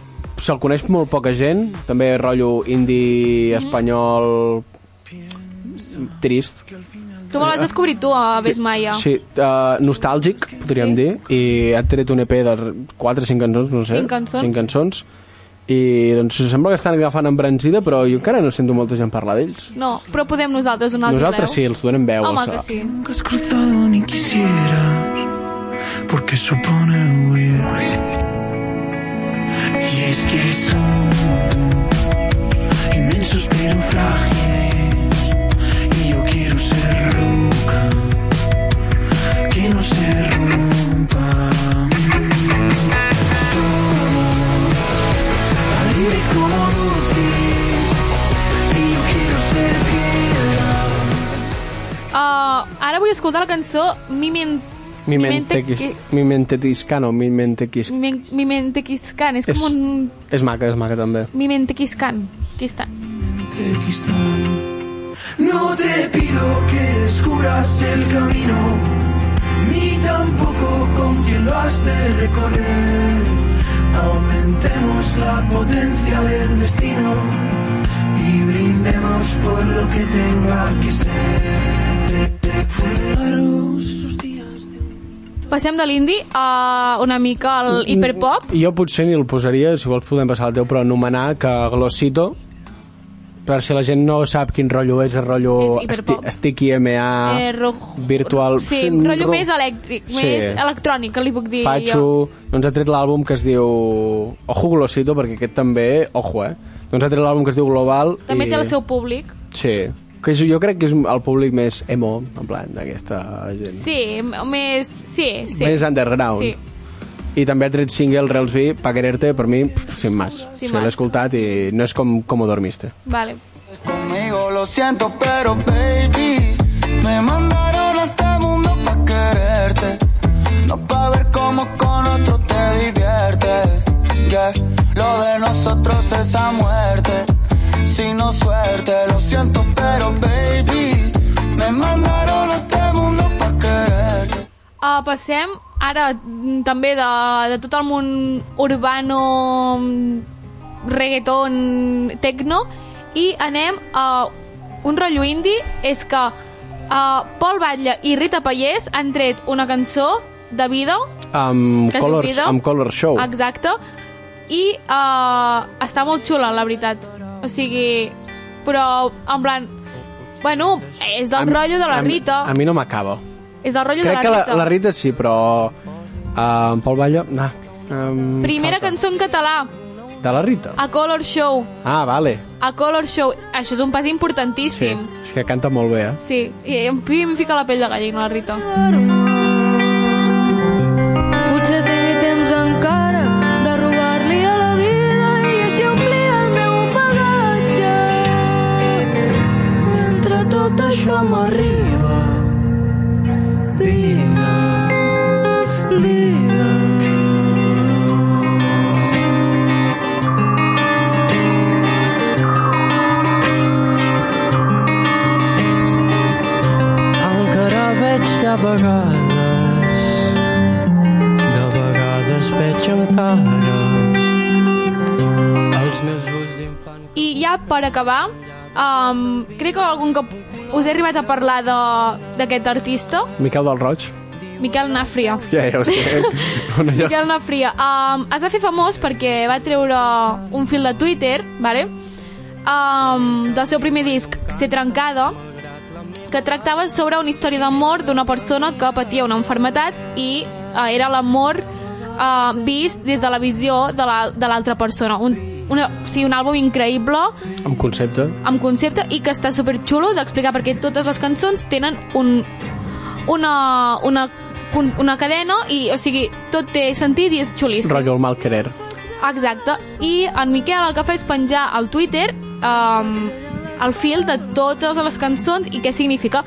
[SPEAKER 7] se'l coneix molt poca gent, també rotllo indie,
[SPEAKER 9] Mhm.
[SPEAKER 7] espanyol, trist,
[SPEAKER 9] Tu me l'has descobrit tu, a Besmaia.
[SPEAKER 7] Eh, Sí, uh, nostàlgic, podríem sí. dir, i ha tret un EP de 4 o 5 cançons, no sé.
[SPEAKER 9] Cinc cançons.
[SPEAKER 7] 5 cançons. I doncs sembla que estan agafant embranzida, però jo encara no sento molta gent parlar d'ells.
[SPEAKER 9] No, però podem nosaltres donar-los
[SPEAKER 7] Nosaltres sí,
[SPEAKER 9] veu.
[SPEAKER 7] els donem veu.
[SPEAKER 9] Ah, Home,
[SPEAKER 7] els-
[SPEAKER 9] que sí.
[SPEAKER 15] Nunca has cruzado ni quisieras, porque supone huir. Y es que somos inmensos pero frágiles, y yo quiero ser roca, que no se rompa. Somos tan libres como luces, y yo quiero ser fiel.
[SPEAKER 9] Uh, ara vull escoltar la cançó Mi Ment...
[SPEAKER 7] Mi mente, quis,
[SPEAKER 9] qui-
[SPEAKER 7] mi mente quiscano, mi mente quis...
[SPEAKER 9] Mi, mi mente quiscan. És
[SPEAKER 7] És-
[SPEAKER 9] com un...
[SPEAKER 7] És maca, és maca també.
[SPEAKER 9] Mi mente quiscan. Quiscan.
[SPEAKER 15] No te pido que descubras el camino, ni tampoco con quién lo has de recorrer. Aumentemos la potencia del destino y brindemos por lo que tenga que ser. Fueron largos esos días.
[SPEAKER 9] Passem de l'indi a una mica
[SPEAKER 7] Mm,
[SPEAKER 9] al hiperpop.
[SPEAKER 7] Jo potser ni el posaria, si vols podem passar al teu, però anomenar que Glossito, per si la gent no sap quin rotllo és, el rotllo
[SPEAKER 9] És
[SPEAKER 7] esti,
[SPEAKER 9] hiperpop.
[SPEAKER 7] Sticky MA,
[SPEAKER 9] Eh, rojo-
[SPEAKER 7] Ah, Virtual...
[SPEAKER 9] Sí, un rotllo més elèctric,
[SPEAKER 7] Sí.
[SPEAKER 9] més electrònic, que li puc dir
[SPEAKER 7] Pacho, doncs ha tret l'àlbum que es diu... Ojo Glosito, perquè aquest també... Ojo, eh? Doncs ha tret l'àlbum que es diu Global.
[SPEAKER 9] jo. També
[SPEAKER 7] i...
[SPEAKER 9] té el seu públic.
[SPEAKER 7] Sí. Que jo, jo crec que és el públic més emo, en plan, d'aquesta gent.
[SPEAKER 9] Sí, m- més... Sí, sí.
[SPEAKER 7] Més underground.
[SPEAKER 9] Sí.
[SPEAKER 7] I també ha tret single Rels B, Pa Quererte, per mi, pff, sin más.
[SPEAKER 9] Sin
[SPEAKER 7] Sí,
[SPEAKER 9] más.
[SPEAKER 7] L'he escoltat i no és com, com dormiste.
[SPEAKER 9] Vale.
[SPEAKER 16] Conmigo lo siento, pero baby, me mandaron a este mundo pa' quererte. No pa' ver cómo con otro te diviertes. Yeah. Lo de nosotros es a muerte, sino suerte. Lo siento, pero baby, me mandaron a este mundo pa' quererte.
[SPEAKER 9] Uh, passem ara mm, també de, de tot el món urbano, mm, reggaeton, techno i anem a un rotllo indie és que uh, Pol Batlle i Rita Pallés han tret una cançó de vida
[SPEAKER 7] Amb
[SPEAKER 9] Que es diu
[SPEAKER 7] Colors,
[SPEAKER 9] Vida.
[SPEAKER 7] amb Color Show.
[SPEAKER 9] exacte i uh, està molt xula la veritat o sigui però en plan bueno és del rotllo de la Rita
[SPEAKER 7] A, mi no m'acaba.
[SPEAKER 9] és del rotllo de
[SPEAKER 7] Crec
[SPEAKER 9] la
[SPEAKER 7] que
[SPEAKER 9] Rita
[SPEAKER 7] la, la Rita sí, però... Uh, en Pol Balla... Nah, um,
[SPEAKER 9] Primera cançó en català,
[SPEAKER 7] De la Rita?
[SPEAKER 9] A Color Show.
[SPEAKER 7] Ah, vale.
[SPEAKER 9] A Color Show. Això és un pas importantíssim.
[SPEAKER 7] És que canta molt bé, eh?
[SPEAKER 9] Sí, sí. i em, fi- em fica la pell de gallina, la Rita.
[SPEAKER 1] Potser tingui temps encara de robar-li a la vida i així omplir el meu bagatge. Mentre tot això m'arriba, vida, vida.
[SPEAKER 17] Encara veig de vegades De vegades veig encara Els meus ulls d'infant
[SPEAKER 9] I ja per acabar, um, crec que algun cop us he arribat a parlar de- d'aquest artista,
[SPEAKER 7] Miquel del Roig.
[SPEAKER 9] Miquel Nafrio.
[SPEAKER 7] Ja, ja
[SPEAKER 9] [LAUGHS]
[SPEAKER 7] ho sé. Bueno, ja...
[SPEAKER 9] Miquel Nafrio. Um, es va fer famós perquè va treure un fil de Twitter, vale? Um, del seu primer disc, Se trencada, que tractava sobre una història d'amor d'una persona que patia una enfermetat i uh, era l'amor uh, vist des de la visió de la- de l'altra la, persona. Un, una, o sigui, un àlbum increïble
[SPEAKER 7] Amb concepte.
[SPEAKER 9] amb concepte i que està superxulo d'explicar perquè totes les cançons tenen un, una, una, con- una cadena i, o sigui, tot té sentit i és xulíssim.
[SPEAKER 7] Rotllo el mal querer.
[SPEAKER 9] Exacte. I en Miquel el que fa és penjar al Twitter um, el fil de totes les cançons i què significa.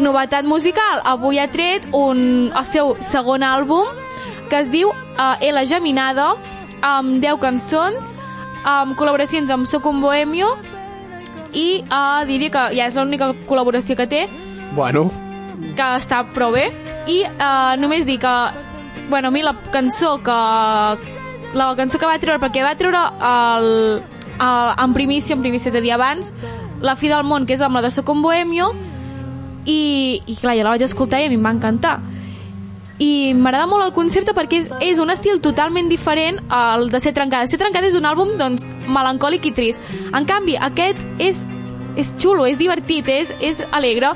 [SPEAKER 9] Novetat musical. Avui ha tret un, el seu segon àlbum que es diu uh, La Geminada amb 10 cançons amb col·laboracions amb Soc un Bohemio i uh, diria que ja és l'única col·laboració que té
[SPEAKER 7] Bueno,
[SPEAKER 9] que està prou bé i eh, només dir que bueno, a mi la cançó que la cançó que va treure perquè va treure el, el, en primícia, en primícia és a dir abans La fi del món, que és amb la de Soc un bohemio i, i clar, jo la vaig escoltar i a mi em va encantar i m'agrada molt el concepte perquè és, és un estil totalment diferent al de Ser trencada. Ser trencada és un àlbum doncs, melancòlic i trist. En canvi, aquest és, és xulo, és divertit, és, és alegre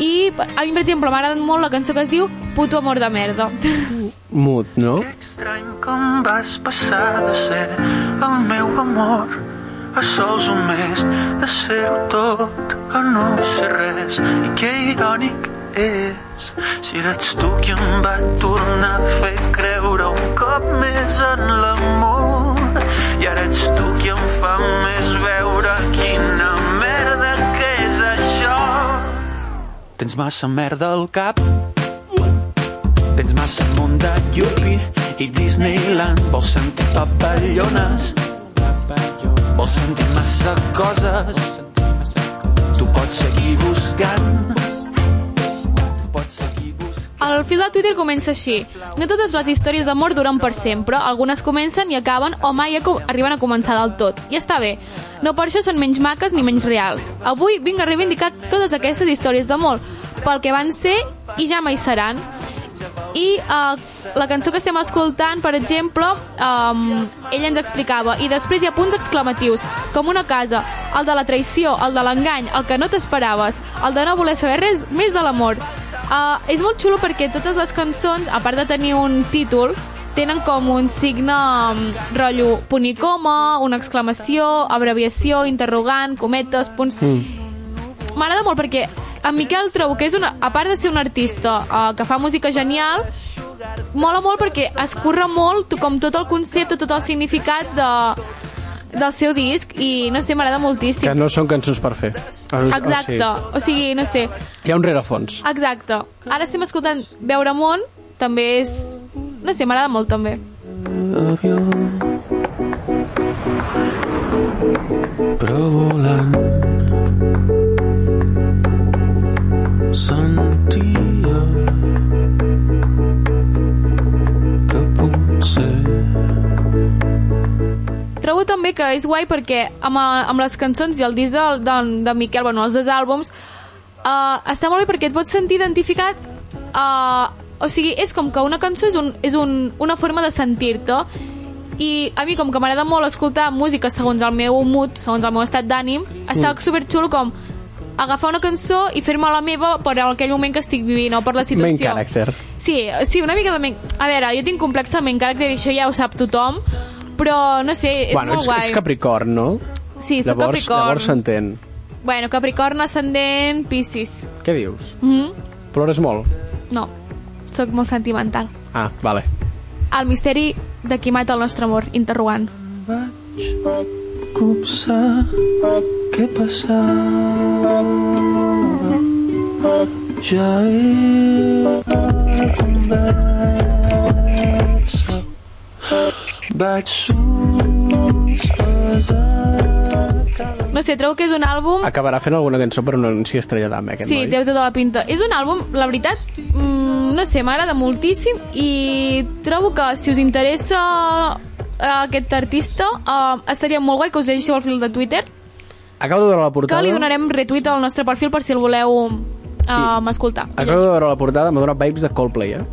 [SPEAKER 9] i a mi, per exemple, m'ha agradat molt la cançó que es diu Puto amor de merda. [LAUGHS]
[SPEAKER 7] mut, no?
[SPEAKER 15] Com vas passar de ser el meu amor a sols un mes de ser-ho tot a no ser res i que irònic és si eres tu qui em va tornar a fer creure un cop més en l'amor i ara ets tu qui em fa més veure quina merda que és això
[SPEAKER 18] Tens massa merda al cap Tens massa món de Yuppie i Disneyland Vols sentir papallones Vols sentir massa coses Tu pots seguir buscant Pots seguir
[SPEAKER 9] El fil de Twitter comença així. No totes les històries d'amor duren per sempre. Algunes comencen i acaben o mai aco- arriben a començar del tot. I està bé. No per això són menys maques ni menys reals. Avui vinc a reivindicar totes aquestes històries d'amor pel que van ser i ja mai seran. I uh, la cançó que estem escoltant, per exemple, um, ell ens explicava, i després hi ha punts exclamatius, com una casa, el de la traïció, el de l'engany, el que no t'esperaves, el de no voler saber res més de l'amor. Uh, és molt xulo perquè totes les cançons, a part de tenir un títol, tenen com un signe um, rotllo punt i coma, una exclamació, abreviació, interrogant, cometes, punts...
[SPEAKER 1] Mm.
[SPEAKER 9] M'agrada molt perquè en Miquel trobo que és una, a part de ser un artista uh, que fa música genial, mola molt perquè es curra molt to- com tot el concepte, tot el significat de, del seu disc i no sé, m'agrada moltíssim.
[SPEAKER 7] Que no són cançons per fer. O- o
[SPEAKER 9] Exacte, Ah, o sigui, no sé,
[SPEAKER 7] sigui, Hi ha un rerefons.
[SPEAKER 9] exacte. Ara estem escoltant Veure món, també és... No sé, m'agrada molt també.
[SPEAKER 18] Però volant sentia que potser
[SPEAKER 9] Trobo també que és guai perquè amb, eh, amb les cançons i el disc de, de, de Miquel, bueno, els dos àlbums, uh, està molt bé perquè et pots sentir identificat... Uh, o sigui, és com que una cançó és, un, és un, una forma de sentir-te i a mi, com que m'agrada molt escoltar música segons el meu mood, segons el meu estat d'ànim, està
[SPEAKER 1] Mm.
[SPEAKER 9] superxulo com agafar una cançó i fer-me la meva per aquell moment que estic vivint o per la situació.
[SPEAKER 7] Main character.
[SPEAKER 9] Sí, sí, una mica de... men- A veure, jo tinc complex amb en caràcter i això ja ho sap tothom, però no sé, és
[SPEAKER 7] bueno,
[SPEAKER 9] molt
[SPEAKER 7] ets,
[SPEAKER 9] guai.
[SPEAKER 7] ets Capricorn, no?
[SPEAKER 9] Sí, soc
[SPEAKER 7] llavors,
[SPEAKER 9] Capricorn.
[SPEAKER 7] Llavors s'entén.
[SPEAKER 9] Bueno, Capricorn, ascendent, Piscis.
[SPEAKER 7] Què dius?
[SPEAKER 9] Mm -hmm.
[SPEAKER 7] Plores molt?
[SPEAKER 9] No, sóc molt sentimental.
[SPEAKER 7] Ah, vale.
[SPEAKER 9] El misteri de qui mata el nostre amor, interrogant.
[SPEAKER 18] copsar què passava ja era conversa vaig
[SPEAKER 9] No sé, trobo que és un àlbum...
[SPEAKER 7] Acabarà fent alguna cançó per un anunci estrella d'Am, aquest
[SPEAKER 9] Sí,
[SPEAKER 7] noi.
[SPEAKER 9] té tota la pinta. És un àlbum, la veritat, mm, no sé, m'agrada moltíssim i trobo que si us interessa eh, aquest artista eh, estaria molt guai que us llegíssiu el fil de Twitter
[SPEAKER 7] Acabo de veure la
[SPEAKER 9] que
[SPEAKER 7] portada.
[SPEAKER 9] li donarem retweet al nostre perfil per si el voleu um, escoltar. i
[SPEAKER 7] Acabo de veure la portada, m'ha donat vibes de Coldplay, eh?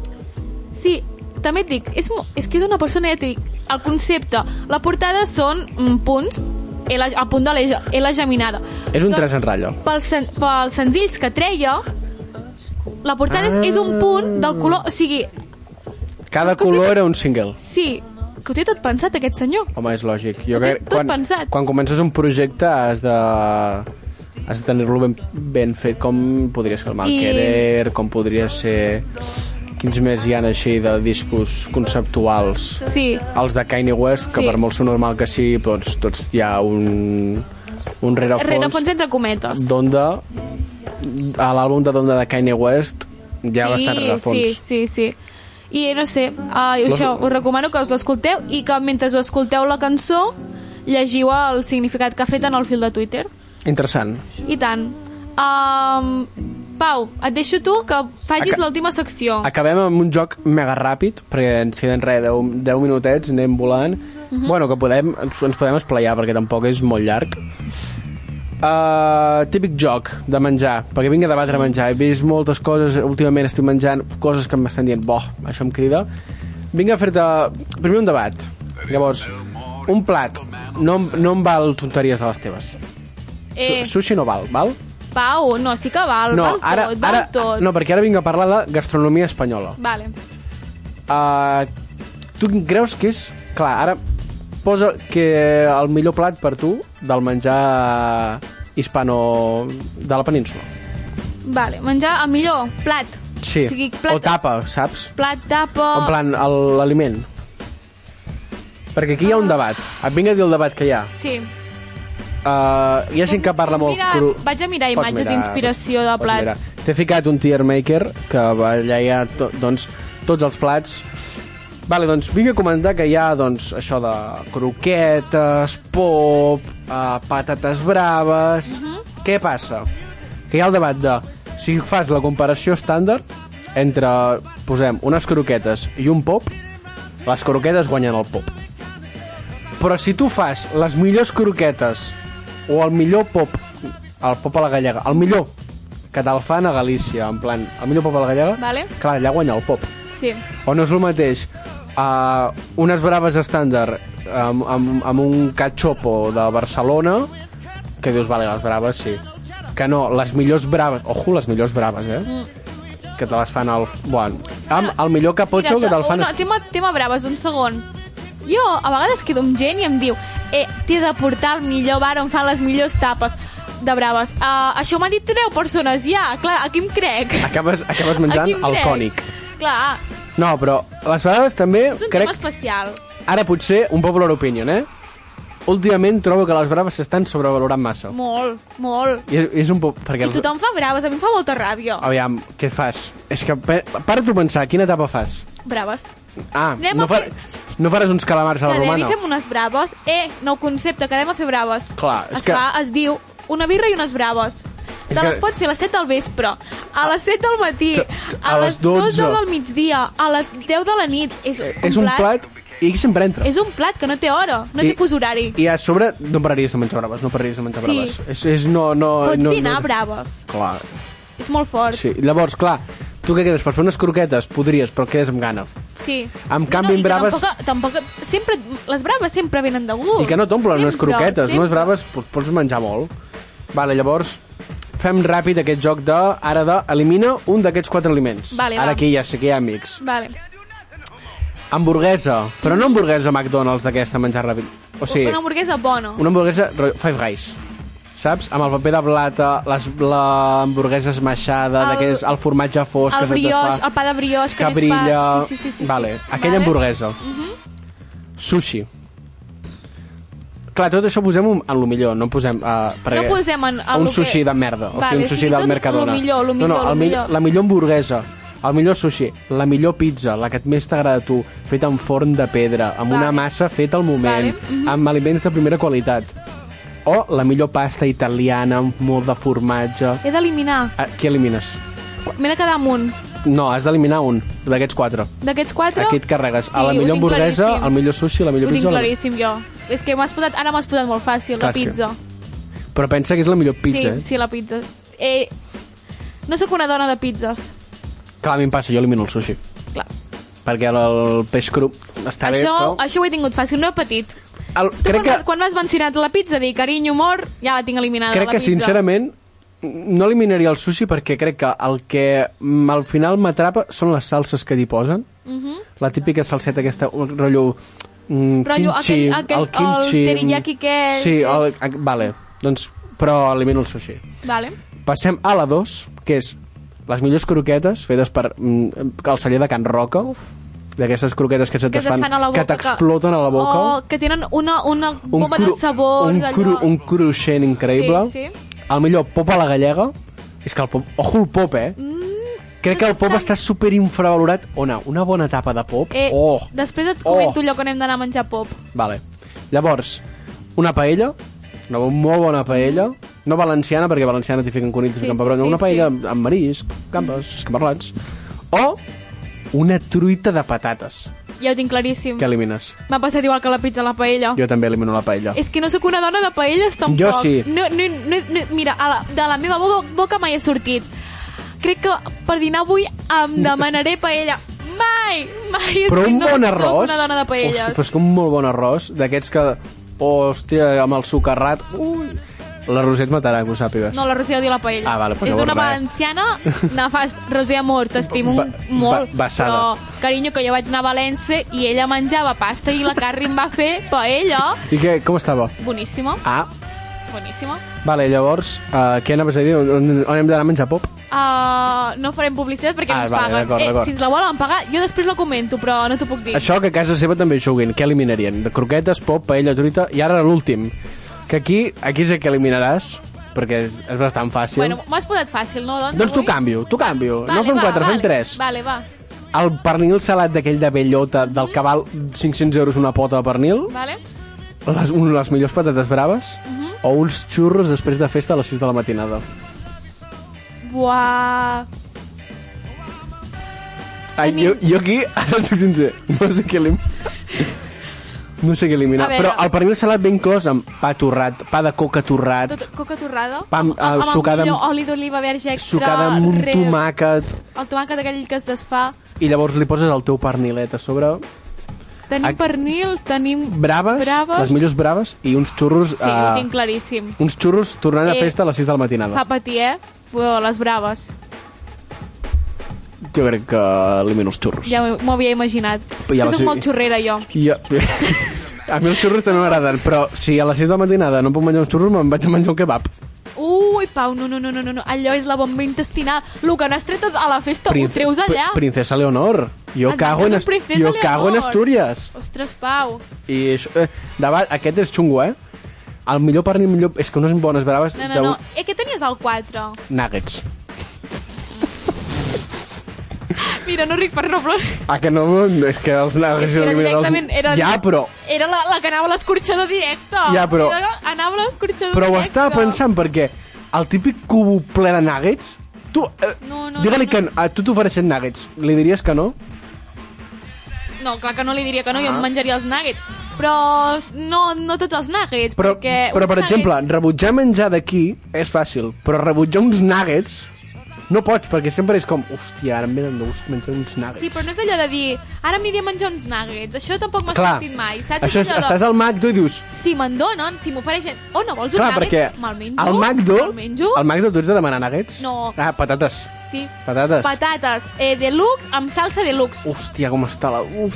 [SPEAKER 9] Sí, també et dic, és, mo- és que és una persona, ja t'hi dic, el concepte, la portada són mm, punts, L, el punt de l'E L geminada. Doncs,
[SPEAKER 7] És un tres en ratllo.
[SPEAKER 9] Pels, sen, pels senzills que treia, la portada ah. és, és un punt del color... O sigui,
[SPEAKER 7] Cada color era un single.
[SPEAKER 9] sí, que ho té tot pensat, aquest senyor.
[SPEAKER 7] Home, és lògic. Jo
[SPEAKER 9] Ho té
[SPEAKER 7] crec-
[SPEAKER 9] tot pensat.
[SPEAKER 7] quan comences un projecte has de has de tenir-lo ben, ben fet com podria ser el
[SPEAKER 9] I-
[SPEAKER 7] Malquerer, I... com podria ser... Quins més hi han així de discos conceptuals?
[SPEAKER 9] Sí.
[SPEAKER 7] Els de Kanye West, que
[SPEAKER 9] Sí.
[SPEAKER 7] per molt ser normal que sigui, doncs, tots hi ha un, un rerefons,
[SPEAKER 9] Rerefons entre cometes.
[SPEAKER 7] d'onda... A l'àlbum de d'onda de Kanye West hi ha bastant
[SPEAKER 9] Sí,
[SPEAKER 7] rerefons.
[SPEAKER 9] sí, sí. I no sé, uh, jo això, us recomano que us l'escolteu i que mentre us escolteu la cançó llegiu el significat que ha fet en el fil de Twitter.
[SPEAKER 7] Interessant.
[SPEAKER 9] I tant. Um, Pau, et deixo tu que facis
[SPEAKER 7] Aca-
[SPEAKER 9] l'última secció.
[SPEAKER 7] Acabem amb un joc mega ràpid, perquè ens queden res, 10, 10 minutets, anem volant.
[SPEAKER 9] Mhm.
[SPEAKER 7] Bueno, que podem, ens, ens podem esplayar, perquè tampoc és molt llarg. Uh, típic joc de menjar, perquè vinc a debatre menjar. He vist moltes coses, últimament estic menjant coses que m'estan dient, boh, això em crida. Vinc a fer-te... Primer un debat. Llavors, un plat. No, em- no em val tonteries de les teves.
[SPEAKER 9] Eh,
[SPEAKER 7] Su- Sushi no val, val?
[SPEAKER 9] Pau, no, sí que val,
[SPEAKER 7] no,
[SPEAKER 9] val
[SPEAKER 7] ara,
[SPEAKER 9] tot, val
[SPEAKER 7] ara,
[SPEAKER 9] tot.
[SPEAKER 7] no, perquè ara vinc a parlar de gastronomia espanyola.
[SPEAKER 9] Vale.
[SPEAKER 7] Uh, tu creus que és... Clar, ara posa que el millor plat per tu del menjar hispano de la península.
[SPEAKER 9] Vale, menjar el millor, plat.
[SPEAKER 7] Sí,
[SPEAKER 9] O sigui, plat, Oh.
[SPEAKER 7] o tapa, saps?
[SPEAKER 9] Plat, tapa...
[SPEAKER 7] En plan, el- l'aliment. Perquè aquí hi ha un debat. Et vinc a dir el debat que hi ha.
[SPEAKER 9] Sí.
[SPEAKER 7] Uh, hi ha gent que parla molt...
[SPEAKER 9] Mira,
[SPEAKER 7] cru...
[SPEAKER 9] vaig a mirar
[SPEAKER 7] Pots
[SPEAKER 9] imatges
[SPEAKER 7] mirar,
[SPEAKER 9] d'inspiració de
[SPEAKER 7] pots mirar.
[SPEAKER 9] plats.
[SPEAKER 7] T'he ficat un tier maker que va- allà hi ha to, doncs, tots els plats. Vale, doncs vinc a comentar que hi ha doncs, això de croquetes, pop, uh, patates braves...
[SPEAKER 9] Mhm.
[SPEAKER 7] Què passa? Que hi ha el debat de si fas la comparació estàndard entre, posem, unes croquetes i un pop, les croquetes guanyen el pop. Però si tu fas les millors croquetes o el millor pop, el pop a la gallega, el millor que te'l fan a Galícia, en plan, el millor pop a la gallega,
[SPEAKER 9] Vale.
[SPEAKER 7] clar, allà guanya el pop.
[SPEAKER 9] Sí.
[SPEAKER 7] O no és el mateix uh, unes braves estàndard amb, amb, amb un cachopo de Barcelona, que dius, vale, les braves sí. Que no, les millors braves, ojo, les millors braves, eh?
[SPEAKER 9] Mm.
[SPEAKER 7] Que te les fan al... Bueno, amb el millor capotxo que te'l fan...
[SPEAKER 9] no, tema, tema braves, un segon. Jo a vegades quedo amb gent i em diu eh, t'he de portar el millor bar on fan les millors tapes de braves. Uh, això m'han dit 10 persones ja, clar, a qui em crec?
[SPEAKER 7] Acabes, acabes menjant
[SPEAKER 9] Aquí em
[SPEAKER 7] el
[SPEAKER 9] crec.
[SPEAKER 7] cònic.
[SPEAKER 9] Clar,
[SPEAKER 7] No, però les braves també,
[SPEAKER 9] és un tema
[SPEAKER 7] crec,
[SPEAKER 9] especial.
[SPEAKER 7] ara potser un popular opinion, eh? Últimament trobo que les braves s'estan sobrevalorant massa.
[SPEAKER 9] Molt, molt.
[SPEAKER 7] I és, és un poc... Perquè...
[SPEAKER 9] I tothom fa braves, a mi em fa molta ràbia.
[SPEAKER 7] Aviam, què fas? És que, pe- para tu a pensar, quina etapa fas?
[SPEAKER 9] Braves.
[SPEAKER 7] Ah,
[SPEAKER 9] Anem
[SPEAKER 7] no,
[SPEAKER 9] a
[SPEAKER 7] far... no faràs uns calamars a la
[SPEAKER 9] Quedem i
[SPEAKER 7] romana?
[SPEAKER 9] fem unes braves. Eh, nou concepte, quedem a fer braves.
[SPEAKER 7] Clar, és
[SPEAKER 9] es,
[SPEAKER 7] que-
[SPEAKER 9] fa, es diu una birra i unes braves.
[SPEAKER 7] És
[SPEAKER 9] Te les
[SPEAKER 7] que-
[SPEAKER 9] pots fer a les 7 del vespre, a les 7 del matí,
[SPEAKER 7] Que-
[SPEAKER 9] a,
[SPEAKER 7] a
[SPEAKER 9] les
[SPEAKER 7] les
[SPEAKER 9] 12
[SPEAKER 7] 12
[SPEAKER 9] del migdia, a les 10 de la nit. És un,
[SPEAKER 7] És un plat i aquí sempre entra.
[SPEAKER 9] És un plat que no té hora, no
[SPEAKER 7] I-
[SPEAKER 9] té fus horari.
[SPEAKER 7] I a sobre no pararies de menjar braves, no pararies de menjar
[SPEAKER 9] Sí.
[SPEAKER 7] braves. És, és no, no,
[SPEAKER 9] Pots
[SPEAKER 7] no,
[SPEAKER 9] dinar
[SPEAKER 7] no...
[SPEAKER 9] braves.
[SPEAKER 7] Clar,
[SPEAKER 9] És molt fort.
[SPEAKER 7] sí. Llavors, clar, tu què quedes? Per fer unes croquetes? Podries, però quedes amb gana.
[SPEAKER 9] Sí.
[SPEAKER 7] En
[SPEAKER 9] No, no,
[SPEAKER 7] canvi,
[SPEAKER 9] i
[SPEAKER 7] amb
[SPEAKER 9] que
[SPEAKER 7] braves-
[SPEAKER 9] Tampoc, tampoc, sempre, les braves sempre venen de gust.
[SPEAKER 7] I que no t'omplen unes
[SPEAKER 9] Sempre,
[SPEAKER 7] croquetes,
[SPEAKER 9] sempre.
[SPEAKER 7] sempre. unes braves, doncs pots menjar molt. Vale, llavors, fem ràpid aquest joc de, ara de, elimina un d'aquests quatre aliments.
[SPEAKER 9] Vale, va.
[SPEAKER 7] ara aquí ja sé que hi ha amics.
[SPEAKER 9] Vale.
[SPEAKER 7] Hamburguesa, però no hamburguesa McDonald's d'aquesta, menjar ràpid. O sigui,
[SPEAKER 9] Una hamburguesa bona.
[SPEAKER 7] una hamburguesa rotllo Five Guys. Saps? Amb el paper de blata, les, la hamburguesa esmaixada,
[SPEAKER 9] El-
[SPEAKER 7] el, el formatge fosc...
[SPEAKER 9] el
[SPEAKER 7] que se't desfà,
[SPEAKER 9] brioix, el pa de brioix, que,
[SPEAKER 7] que
[SPEAKER 9] no és pa-
[SPEAKER 7] brilla...
[SPEAKER 9] Sí, sí, sí, sí,
[SPEAKER 7] vale,
[SPEAKER 9] sí.
[SPEAKER 7] aquella
[SPEAKER 9] Vale.
[SPEAKER 7] hamburguesa.
[SPEAKER 9] Mhm.
[SPEAKER 7] Sushi. Clar, tot això ho posem un- en lo millor, no posem... Uh,
[SPEAKER 9] No posem en- en
[SPEAKER 7] un
[SPEAKER 9] lo
[SPEAKER 7] sushi
[SPEAKER 9] que-
[SPEAKER 7] de merda, o
[SPEAKER 9] Vale,
[SPEAKER 7] sigui, un
[SPEAKER 9] sí,
[SPEAKER 7] sushi
[SPEAKER 9] sí, tot
[SPEAKER 7] del
[SPEAKER 9] lo
[SPEAKER 7] Mercadona.
[SPEAKER 9] millor, lo
[SPEAKER 7] no,
[SPEAKER 9] millor,
[SPEAKER 7] no,
[SPEAKER 9] lo
[SPEAKER 7] el mi-
[SPEAKER 9] millor.
[SPEAKER 7] la millor hamburguesa, el millor sushi, la millor pizza, la que et més t'agrada a tu, feta en forn de pedra, amb
[SPEAKER 9] Vale.
[SPEAKER 7] una massa feta al moment,
[SPEAKER 9] Vale, mhm.
[SPEAKER 7] amb aliments de primera qualitat. O la millor pasta italiana amb molt de formatge.
[SPEAKER 9] He d'eliminar.
[SPEAKER 7] Ah, Què elimines?
[SPEAKER 9] M'he de quedar amunt.
[SPEAKER 7] No, has d'eliminar un d'aquests quatre.
[SPEAKER 9] D'aquests quatre...
[SPEAKER 7] Aquí et carregues a la
[SPEAKER 9] Sí, ho tinc
[SPEAKER 7] millor hamburguesa,
[SPEAKER 9] claríssim.
[SPEAKER 7] el millor sushi, la millor
[SPEAKER 9] Ho tinc
[SPEAKER 7] pizza... la-
[SPEAKER 9] claríssim, jo. És que m'has posat, ara m'has posat molt fàcil, la
[SPEAKER 7] Clar, és que- eh?
[SPEAKER 9] pizza.
[SPEAKER 7] Però pensa que és la millor pizza,
[SPEAKER 9] sí,
[SPEAKER 7] eh?
[SPEAKER 9] sí, la pizza. Eh, No sóc una dona de pizzas.
[SPEAKER 7] Clar, a mi em passa, jo elimino el sushi.
[SPEAKER 9] Clar.
[SPEAKER 7] Perquè el, el peix cru està bé,
[SPEAKER 9] això,
[SPEAKER 7] però...
[SPEAKER 9] això ho he tingut fàcil, no he patit.
[SPEAKER 7] El,
[SPEAKER 9] Tu
[SPEAKER 7] crec
[SPEAKER 9] quan,
[SPEAKER 7] que,
[SPEAKER 9] vas, quan m'has mencionat la pizza, dir carinyo, amor, ja la tinc eliminada,
[SPEAKER 7] crec
[SPEAKER 9] la
[SPEAKER 7] que
[SPEAKER 9] pizza.
[SPEAKER 7] sincerament, no eliminaria el sushi perquè crec que el que mm, al final m'atrapa són les salses que t'hi posen.
[SPEAKER 9] Mhm.
[SPEAKER 7] La típica salseta aquesta, un rotllo... Mm,
[SPEAKER 9] Rotllo,
[SPEAKER 7] kimchi,
[SPEAKER 9] aquell- aquell-
[SPEAKER 7] el kimchi... mm,
[SPEAKER 9] el teriyaki aquell,
[SPEAKER 7] Sí, el, a, vale. Doncs, però elimino el sushi.
[SPEAKER 9] Vale.
[SPEAKER 7] Passem a la 2, que és les millors croquetes fetes per mm, el celler de Can Roca. D'aquestes croquetes que se
[SPEAKER 9] Que
[SPEAKER 7] te
[SPEAKER 9] se't fan a la boca.
[SPEAKER 7] que t'exploten a la boca.
[SPEAKER 9] O que tenen una, una bomba de sabors,
[SPEAKER 7] un, cru,
[SPEAKER 9] allò.
[SPEAKER 7] un cruixent increïble.
[SPEAKER 9] Sí, sí.
[SPEAKER 7] El millor pop a la gallega és que el pop... Ojo el pop, eh?
[SPEAKER 9] Mm,
[SPEAKER 7] Crec que el pop està super infravalorat. Ona, una bona tapa de pop.
[SPEAKER 9] Eh,
[SPEAKER 7] Oh,
[SPEAKER 9] Després et
[SPEAKER 7] Oh.
[SPEAKER 9] comento allò que hem d'anar a menjar pop.
[SPEAKER 7] vale. Llavors, una paella, una molt bona paella, no valenciana, perquè valenciana t'hi fiquen conills
[SPEAKER 9] Sí,
[SPEAKER 7] i
[SPEAKER 9] sí,
[SPEAKER 7] fiquen pebrons,
[SPEAKER 9] sí,
[SPEAKER 7] una
[SPEAKER 9] sí.
[SPEAKER 7] paella amb marisc, gambes, escamarlats, o una truita de patates,
[SPEAKER 9] Ja ho tinc claríssim.
[SPEAKER 7] que elimines.
[SPEAKER 9] M'ha passat igual que la pizza a la paella.
[SPEAKER 7] Jo també elimino la paella.
[SPEAKER 9] És que no sóc una dona de paelles, tampoc.
[SPEAKER 7] Jo sí.
[SPEAKER 9] No, no, no, no, mira, a la, de la meva boca, boca mai ha sortit. Crec que per dinar avui em
[SPEAKER 7] [LAUGHS]
[SPEAKER 9] demanaré paella. Mai! Mai!
[SPEAKER 7] Però
[SPEAKER 9] És que
[SPEAKER 7] un
[SPEAKER 9] no
[SPEAKER 7] bon
[SPEAKER 9] soc
[SPEAKER 7] arròs...
[SPEAKER 9] una dona de paelles.
[SPEAKER 7] Hosti, però és que un molt bon arròs, d'aquests que... Hòstia, amb el sucarrat... Ui! La Roset matarà, que ho sàpigues.
[SPEAKER 9] No, la Roser odia la paella.
[SPEAKER 7] Ah, vale, però
[SPEAKER 9] és
[SPEAKER 7] llavors
[SPEAKER 9] una
[SPEAKER 7] res.
[SPEAKER 9] valenciana nefast. Roser, amor, t'estimo molt.
[SPEAKER 7] basada.
[SPEAKER 9] Però, carinyo, que jo vaig anar a València i ella menjava pasta i la Carri em va fer paella.
[SPEAKER 7] I què, com estava?
[SPEAKER 9] Boníssima,
[SPEAKER 7] Ah,
[SPEAKER 9] boníssima.
[SPEAKER 7] vale, llavors, uh, què anaves a dir? On, on hem d'anar a menjar pop?
[SPEAKER 9] Uh, no farem publicitat perquè
[SPEAKER 7] Ah,
[SPEAKER 9] no ens
[SPEAKER 7] vale,
[SPEAKER 9] paguen.
[SPEAKER 7] d'acord,
[SPEAKER 9] eh,
[SPEAKER 7] d'acord.
[SPEAKER 9] si ens la volen pagar, jo després la comento, però no t'ho puc dir.
[SPEAKER 7] Això que a casa seva també juguin. Què eliminarien? De croquetes, pop, paella, truita... I ara l'últim. Que aquí, aquí és el que eliminaràs, perquè és, és bastant fàcil.
[SPEAKER 9] Bueno, m'ho has posat fàcil, no? Doncs,
[SPEAKER 7] doncs tu
[SPEAKER 9] avui?
[SPEAKER 7] canvio, tu canvio.
[SPEAKER 9] Vale,
[SPEAKER 7] no fem
[SPEAKER 9] va,
[SPEAKER 7] 4,
[SPEAKER 9] vale,
[SPEAKER 7] fem 3.
[SPEAKER 9] Vale, va.
[SPEAKER 7] El pernil salat d'aquell de bellota, del que val 500 euros una pota de pernil,
[SPEAKER 9] Vale?
[SPEAKER 7] les, un, les millors patates braves,
[SPEAKER 9] Mhm.
[SPEAKER 7] o uns xurros després de festa a les 6 de la matinada.
[SPEAKER 9] Buah...
[SPEAKER 7] Ai, jo, jo aquí, ara et puc sincer, no sé què elim... No sé què eliminar,
[SPEAKER 9] A veure.
[SPEAKER 7] però el pernil salat ben clos amb pa torrat, pa de coca torrat,
[SPEAKER 9] Tot, coca torrada?
[SPEAKER 7] Pa amb-
[SPEAKER 9] amb, amb
[SPEAKER 7] sucada
[SPEAKER 9] el
[SPEAKER 7] amb-
[SPEAKER 9] millor oli d'oliva verge extra.
[SPEAKER 7] sucada amb un
[SPEAKER 9] re-
[SPEAKER 7] tomàquet,
[SPEAKER 9] El tomàquet aquell que es desfà.
[SPEAKER 7] i llavors li poses el teu pernilet a sobre.
[SPEAKER 9] Tenim
[SPEAKER 7] Ac-
[SPEAKER 9] pernil, tenim...
[SPEAKER 7] Braves,
[SPEAKER 9] Braves.
[SPEAKER 7] les millors braves, i uns xurros... eh,
[SPEAKER 9] Sí, ho tinc claríssim.
[SPEAKER 7] uns xurros tornant
[SPEAKER 9] Eh,
[SPEAKER 7] a festa a les 6 de la matinada.
[SPEAKER 9] Fa patir, eh? Però les braves.
[SPEAKER 7] Jo crec que elimino els xurros.
[SPEAKER 9] Ja m'ho havia imaginat.
[SPEAKER 7] Però
[SPEAKER 9] Ja
[SPEAKER 7] ja va
[SPEAKER 9] soc
[SPEAKER 7] ser-
[SPEAKER 9] molt xorrera, jo.
[SPEAKER 7] Jo... [LAUGHS] A mi els xurros també m'agraden, però si a les 6 de la matinada no puc menjar uns xurros, me'n vaig a menjar un kebab.
[SPEAKER 9] Ui, Pau, no, no, no, no, no, no. allò és la bomba intestinal. El que no has tret a la festa
[SPEAKER 7] Prin-
[SPEAKER 9] ho treus allà.
[SPEAKER 7] Pri- Princesa Leonor. Jo
[SPEAKER 9] Et
[SPEAKER 7] cago
[SPEAKER 9] manques
[SPEAKER 7] en,
[SPEAKER 9] un
[SPEAKER 7] Ast-
[SPEAKER 9] Princesa
[SPEAKER 7] jo
[SPEAKER 9] Leonor.
[SPEAKER 7] cago en Astúries.
[SPEAKER 9] Ostres, Pau.
[SPEAKER 7] I això, eh, davant, aquest és xungo, eh? El millor pernil millor... És que unes bones braves...
[SPEAKER 9] No,
[SPEAKER 7] de-
[SPEAKER 9] no, no. Eh, que tenies el 4.
[SPEAKER 7] Nuggets.
[SPEAKER 9] Mira, no ric per no plorar.
[SPEAKER 7] Ah, que no... És que els nuggets...
[SPEAKER 9] És que era
[SPEAKER 7] eliminen els-
[SPEAKER 9] directament... Era,
[SPEAKER 7] Ja, però...
[SPEAKER 9] Era la, la que anava a l'escorxador directe.
[SPEAKER 7] Ja, però-
[SPEAKER 9] Era, anava a l'escorxador
[SPEAKER 7] Però ho
[SPEAKER 9] directe.
[SPEAKER 7] estava pensant, perquè el típic cubo ple de nuggets... Tu, eh,
[SPEAKER 9] No, no,
[SPEAKER 7] digue-li
[SPEAKER 9] no,
[SPEAKER 7] que a tu t'ofereixen nuggets. Li diries que no?
[SPEAKER 9] No, clar que no li diria que no, jo
[SPEAKER 7] Ah.
[SPEAKER 9] em menjaria els nuggets. Però no, no tots els nuggets,
[SPEAKER 7] Però,
[SPEAKER 9] perquè...
[SPEAKER 7] però
[SPEAKER 9] uns
[SPEAKER 7] per exemple, rebutjar menjar d'aquí és fàcil, però rebutjar uns nuggets no pots, perquè sempre és com, hòstia, ara em venen de gust menjar uns nuggets.
[SPEAKER 9] Sí, però no és allò de dir, ara aniré a menjar uns nuggets. Això tampoc m'ha
[SPEAKER 7] Clar,
[SPEAKER 9] sentit mai, saps?
[SPEAKER 7] Ah, Això és,
[SPEAKER 9] allò de-
[SPEAKER 7] estàs al McDo i dius,
[SPEAKER 9] Si me'n donen, si m'ofereixen... Oh, no vols un
[SPEAKER 7] clar,
[SPEAKER 9] nugget?
[SPEAKER 7] perquè
[SPEAKER 9] Me'l menjo?
[SPEAKER 7] al McDo,
[SPEAKER 9] Me'l menjo?
[SPEAKER 7] al McDo tu ets de demanar nuggets?
[SPEAKER 9] No.
[SPEAKER 7] Ah, patates.
[SPEAKER 9] Sí.
[SPEAKER 7] Patates.
[SPEAKER 9] Patates eh, de lux amb salsa de lux.
[SPEAKER 7] Hòstia, com està la... Uf.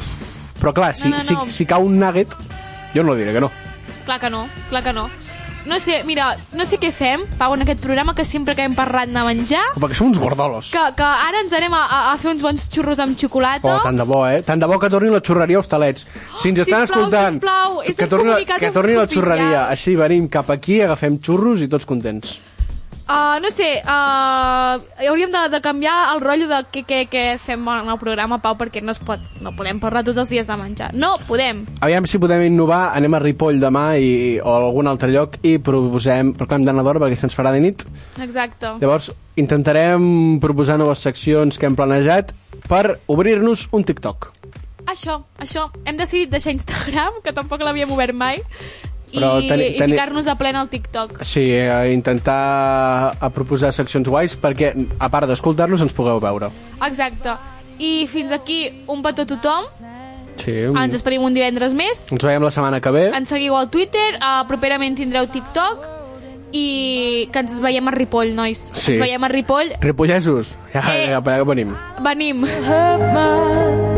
[SPEAKER 7] Però clar, si,
[SPEAKER 9] No, no,
[SPEAKER 7] si,
[SPEAKER 9] no.
[SPEAKER 7] si cau un nugget, jo no diré que no.
[SPEAKER 9] Clar que no, clar que no. No sé, mira, no sé què fem, Pau, en aquest programa, que sempre que hem parlat de menjar,
[SPEAKER 7] Però Perquè som uns gordolos.
[SPEAKER 9] que, que ara ens anem a, a- a fer uns bons xurros amb xocolata.
[SPEAKER 7] Oh, tant de bo, eh? Tant de bo que torni la xurreria Hostalets. Si ens estan
[SPEAKER 9] Oh, sisplau,
[SPEAKER 7] escoltant,
[SPEAKER 9] sisplau, és
[SPEAKER 7] que
[SPEAKER 9] un
[SPEAKER 7] torni, la-
[SPEAKER 9] comunicat
[SPEAKER 7] que torni la
[SPEAKER 9] oficial.
[SPEAKER 7] xurreria. Així venim cap aquí, agafem xurros i tots contents.
[SPEAKER 9] Uh, no sé, uh, hauríem de, de canviar el rotllo de què, què, què fem en el programa, Pau, perquè no, es pot, no podem parlar tots els dies de menjar. No podem.
[SPEAKER 7] Aviam si podem innovar, anem a Ripoll demà i, o a algun altre lloc i proposem, però clar, hem d'anar d'hora perquè se'ns farà de nit.
[SPEAKER 9] Exacte.
[SPEAKER 7] Llavors, intentarem proposar noves seccions que hem planejat per obrir-nos un TikTok.
[SPEAKER 9] Això, això. Hem decidit deixar Instagram, que tampoc l'havíem obert mai.
[SPEAKER 7] Però
[SPEAKER 9] i,
[SPEAKER 7] teni-
[SPEAKER 9] i
[SPEAKER 7] teni-
[SPEAKER 9] ficar-nos a plena al TikTok.
[SPEAKER 7] Sí, eh, intentar a proposar seccions guais perquè, a part d'escoltar-los, ens pugueu veure.
[SPEAKER 9] Exacte. I fins aquí un petó a tothom.
[SPEAKER 7] Sí.
[SPEAKER 9] Ah, Ens esperim un divendres més.
[SPEAKER 7] Ens veiem la setmana que ve.
[SPEAKER 9] Ens seguiu al Twitter, uh, properament tindreu TikTok i que ens veiem a Ripoll, nois.
[SPEAKER 7] Sí.
[SPEAKER 9] Ens veiem a Ripoll.
[SPEAKER 7] Ripollesos, ja,
[SPEAKER 9] Eh.
[SPEAKER 7] ja, ja venim.
[SPEAKER 9] Venim.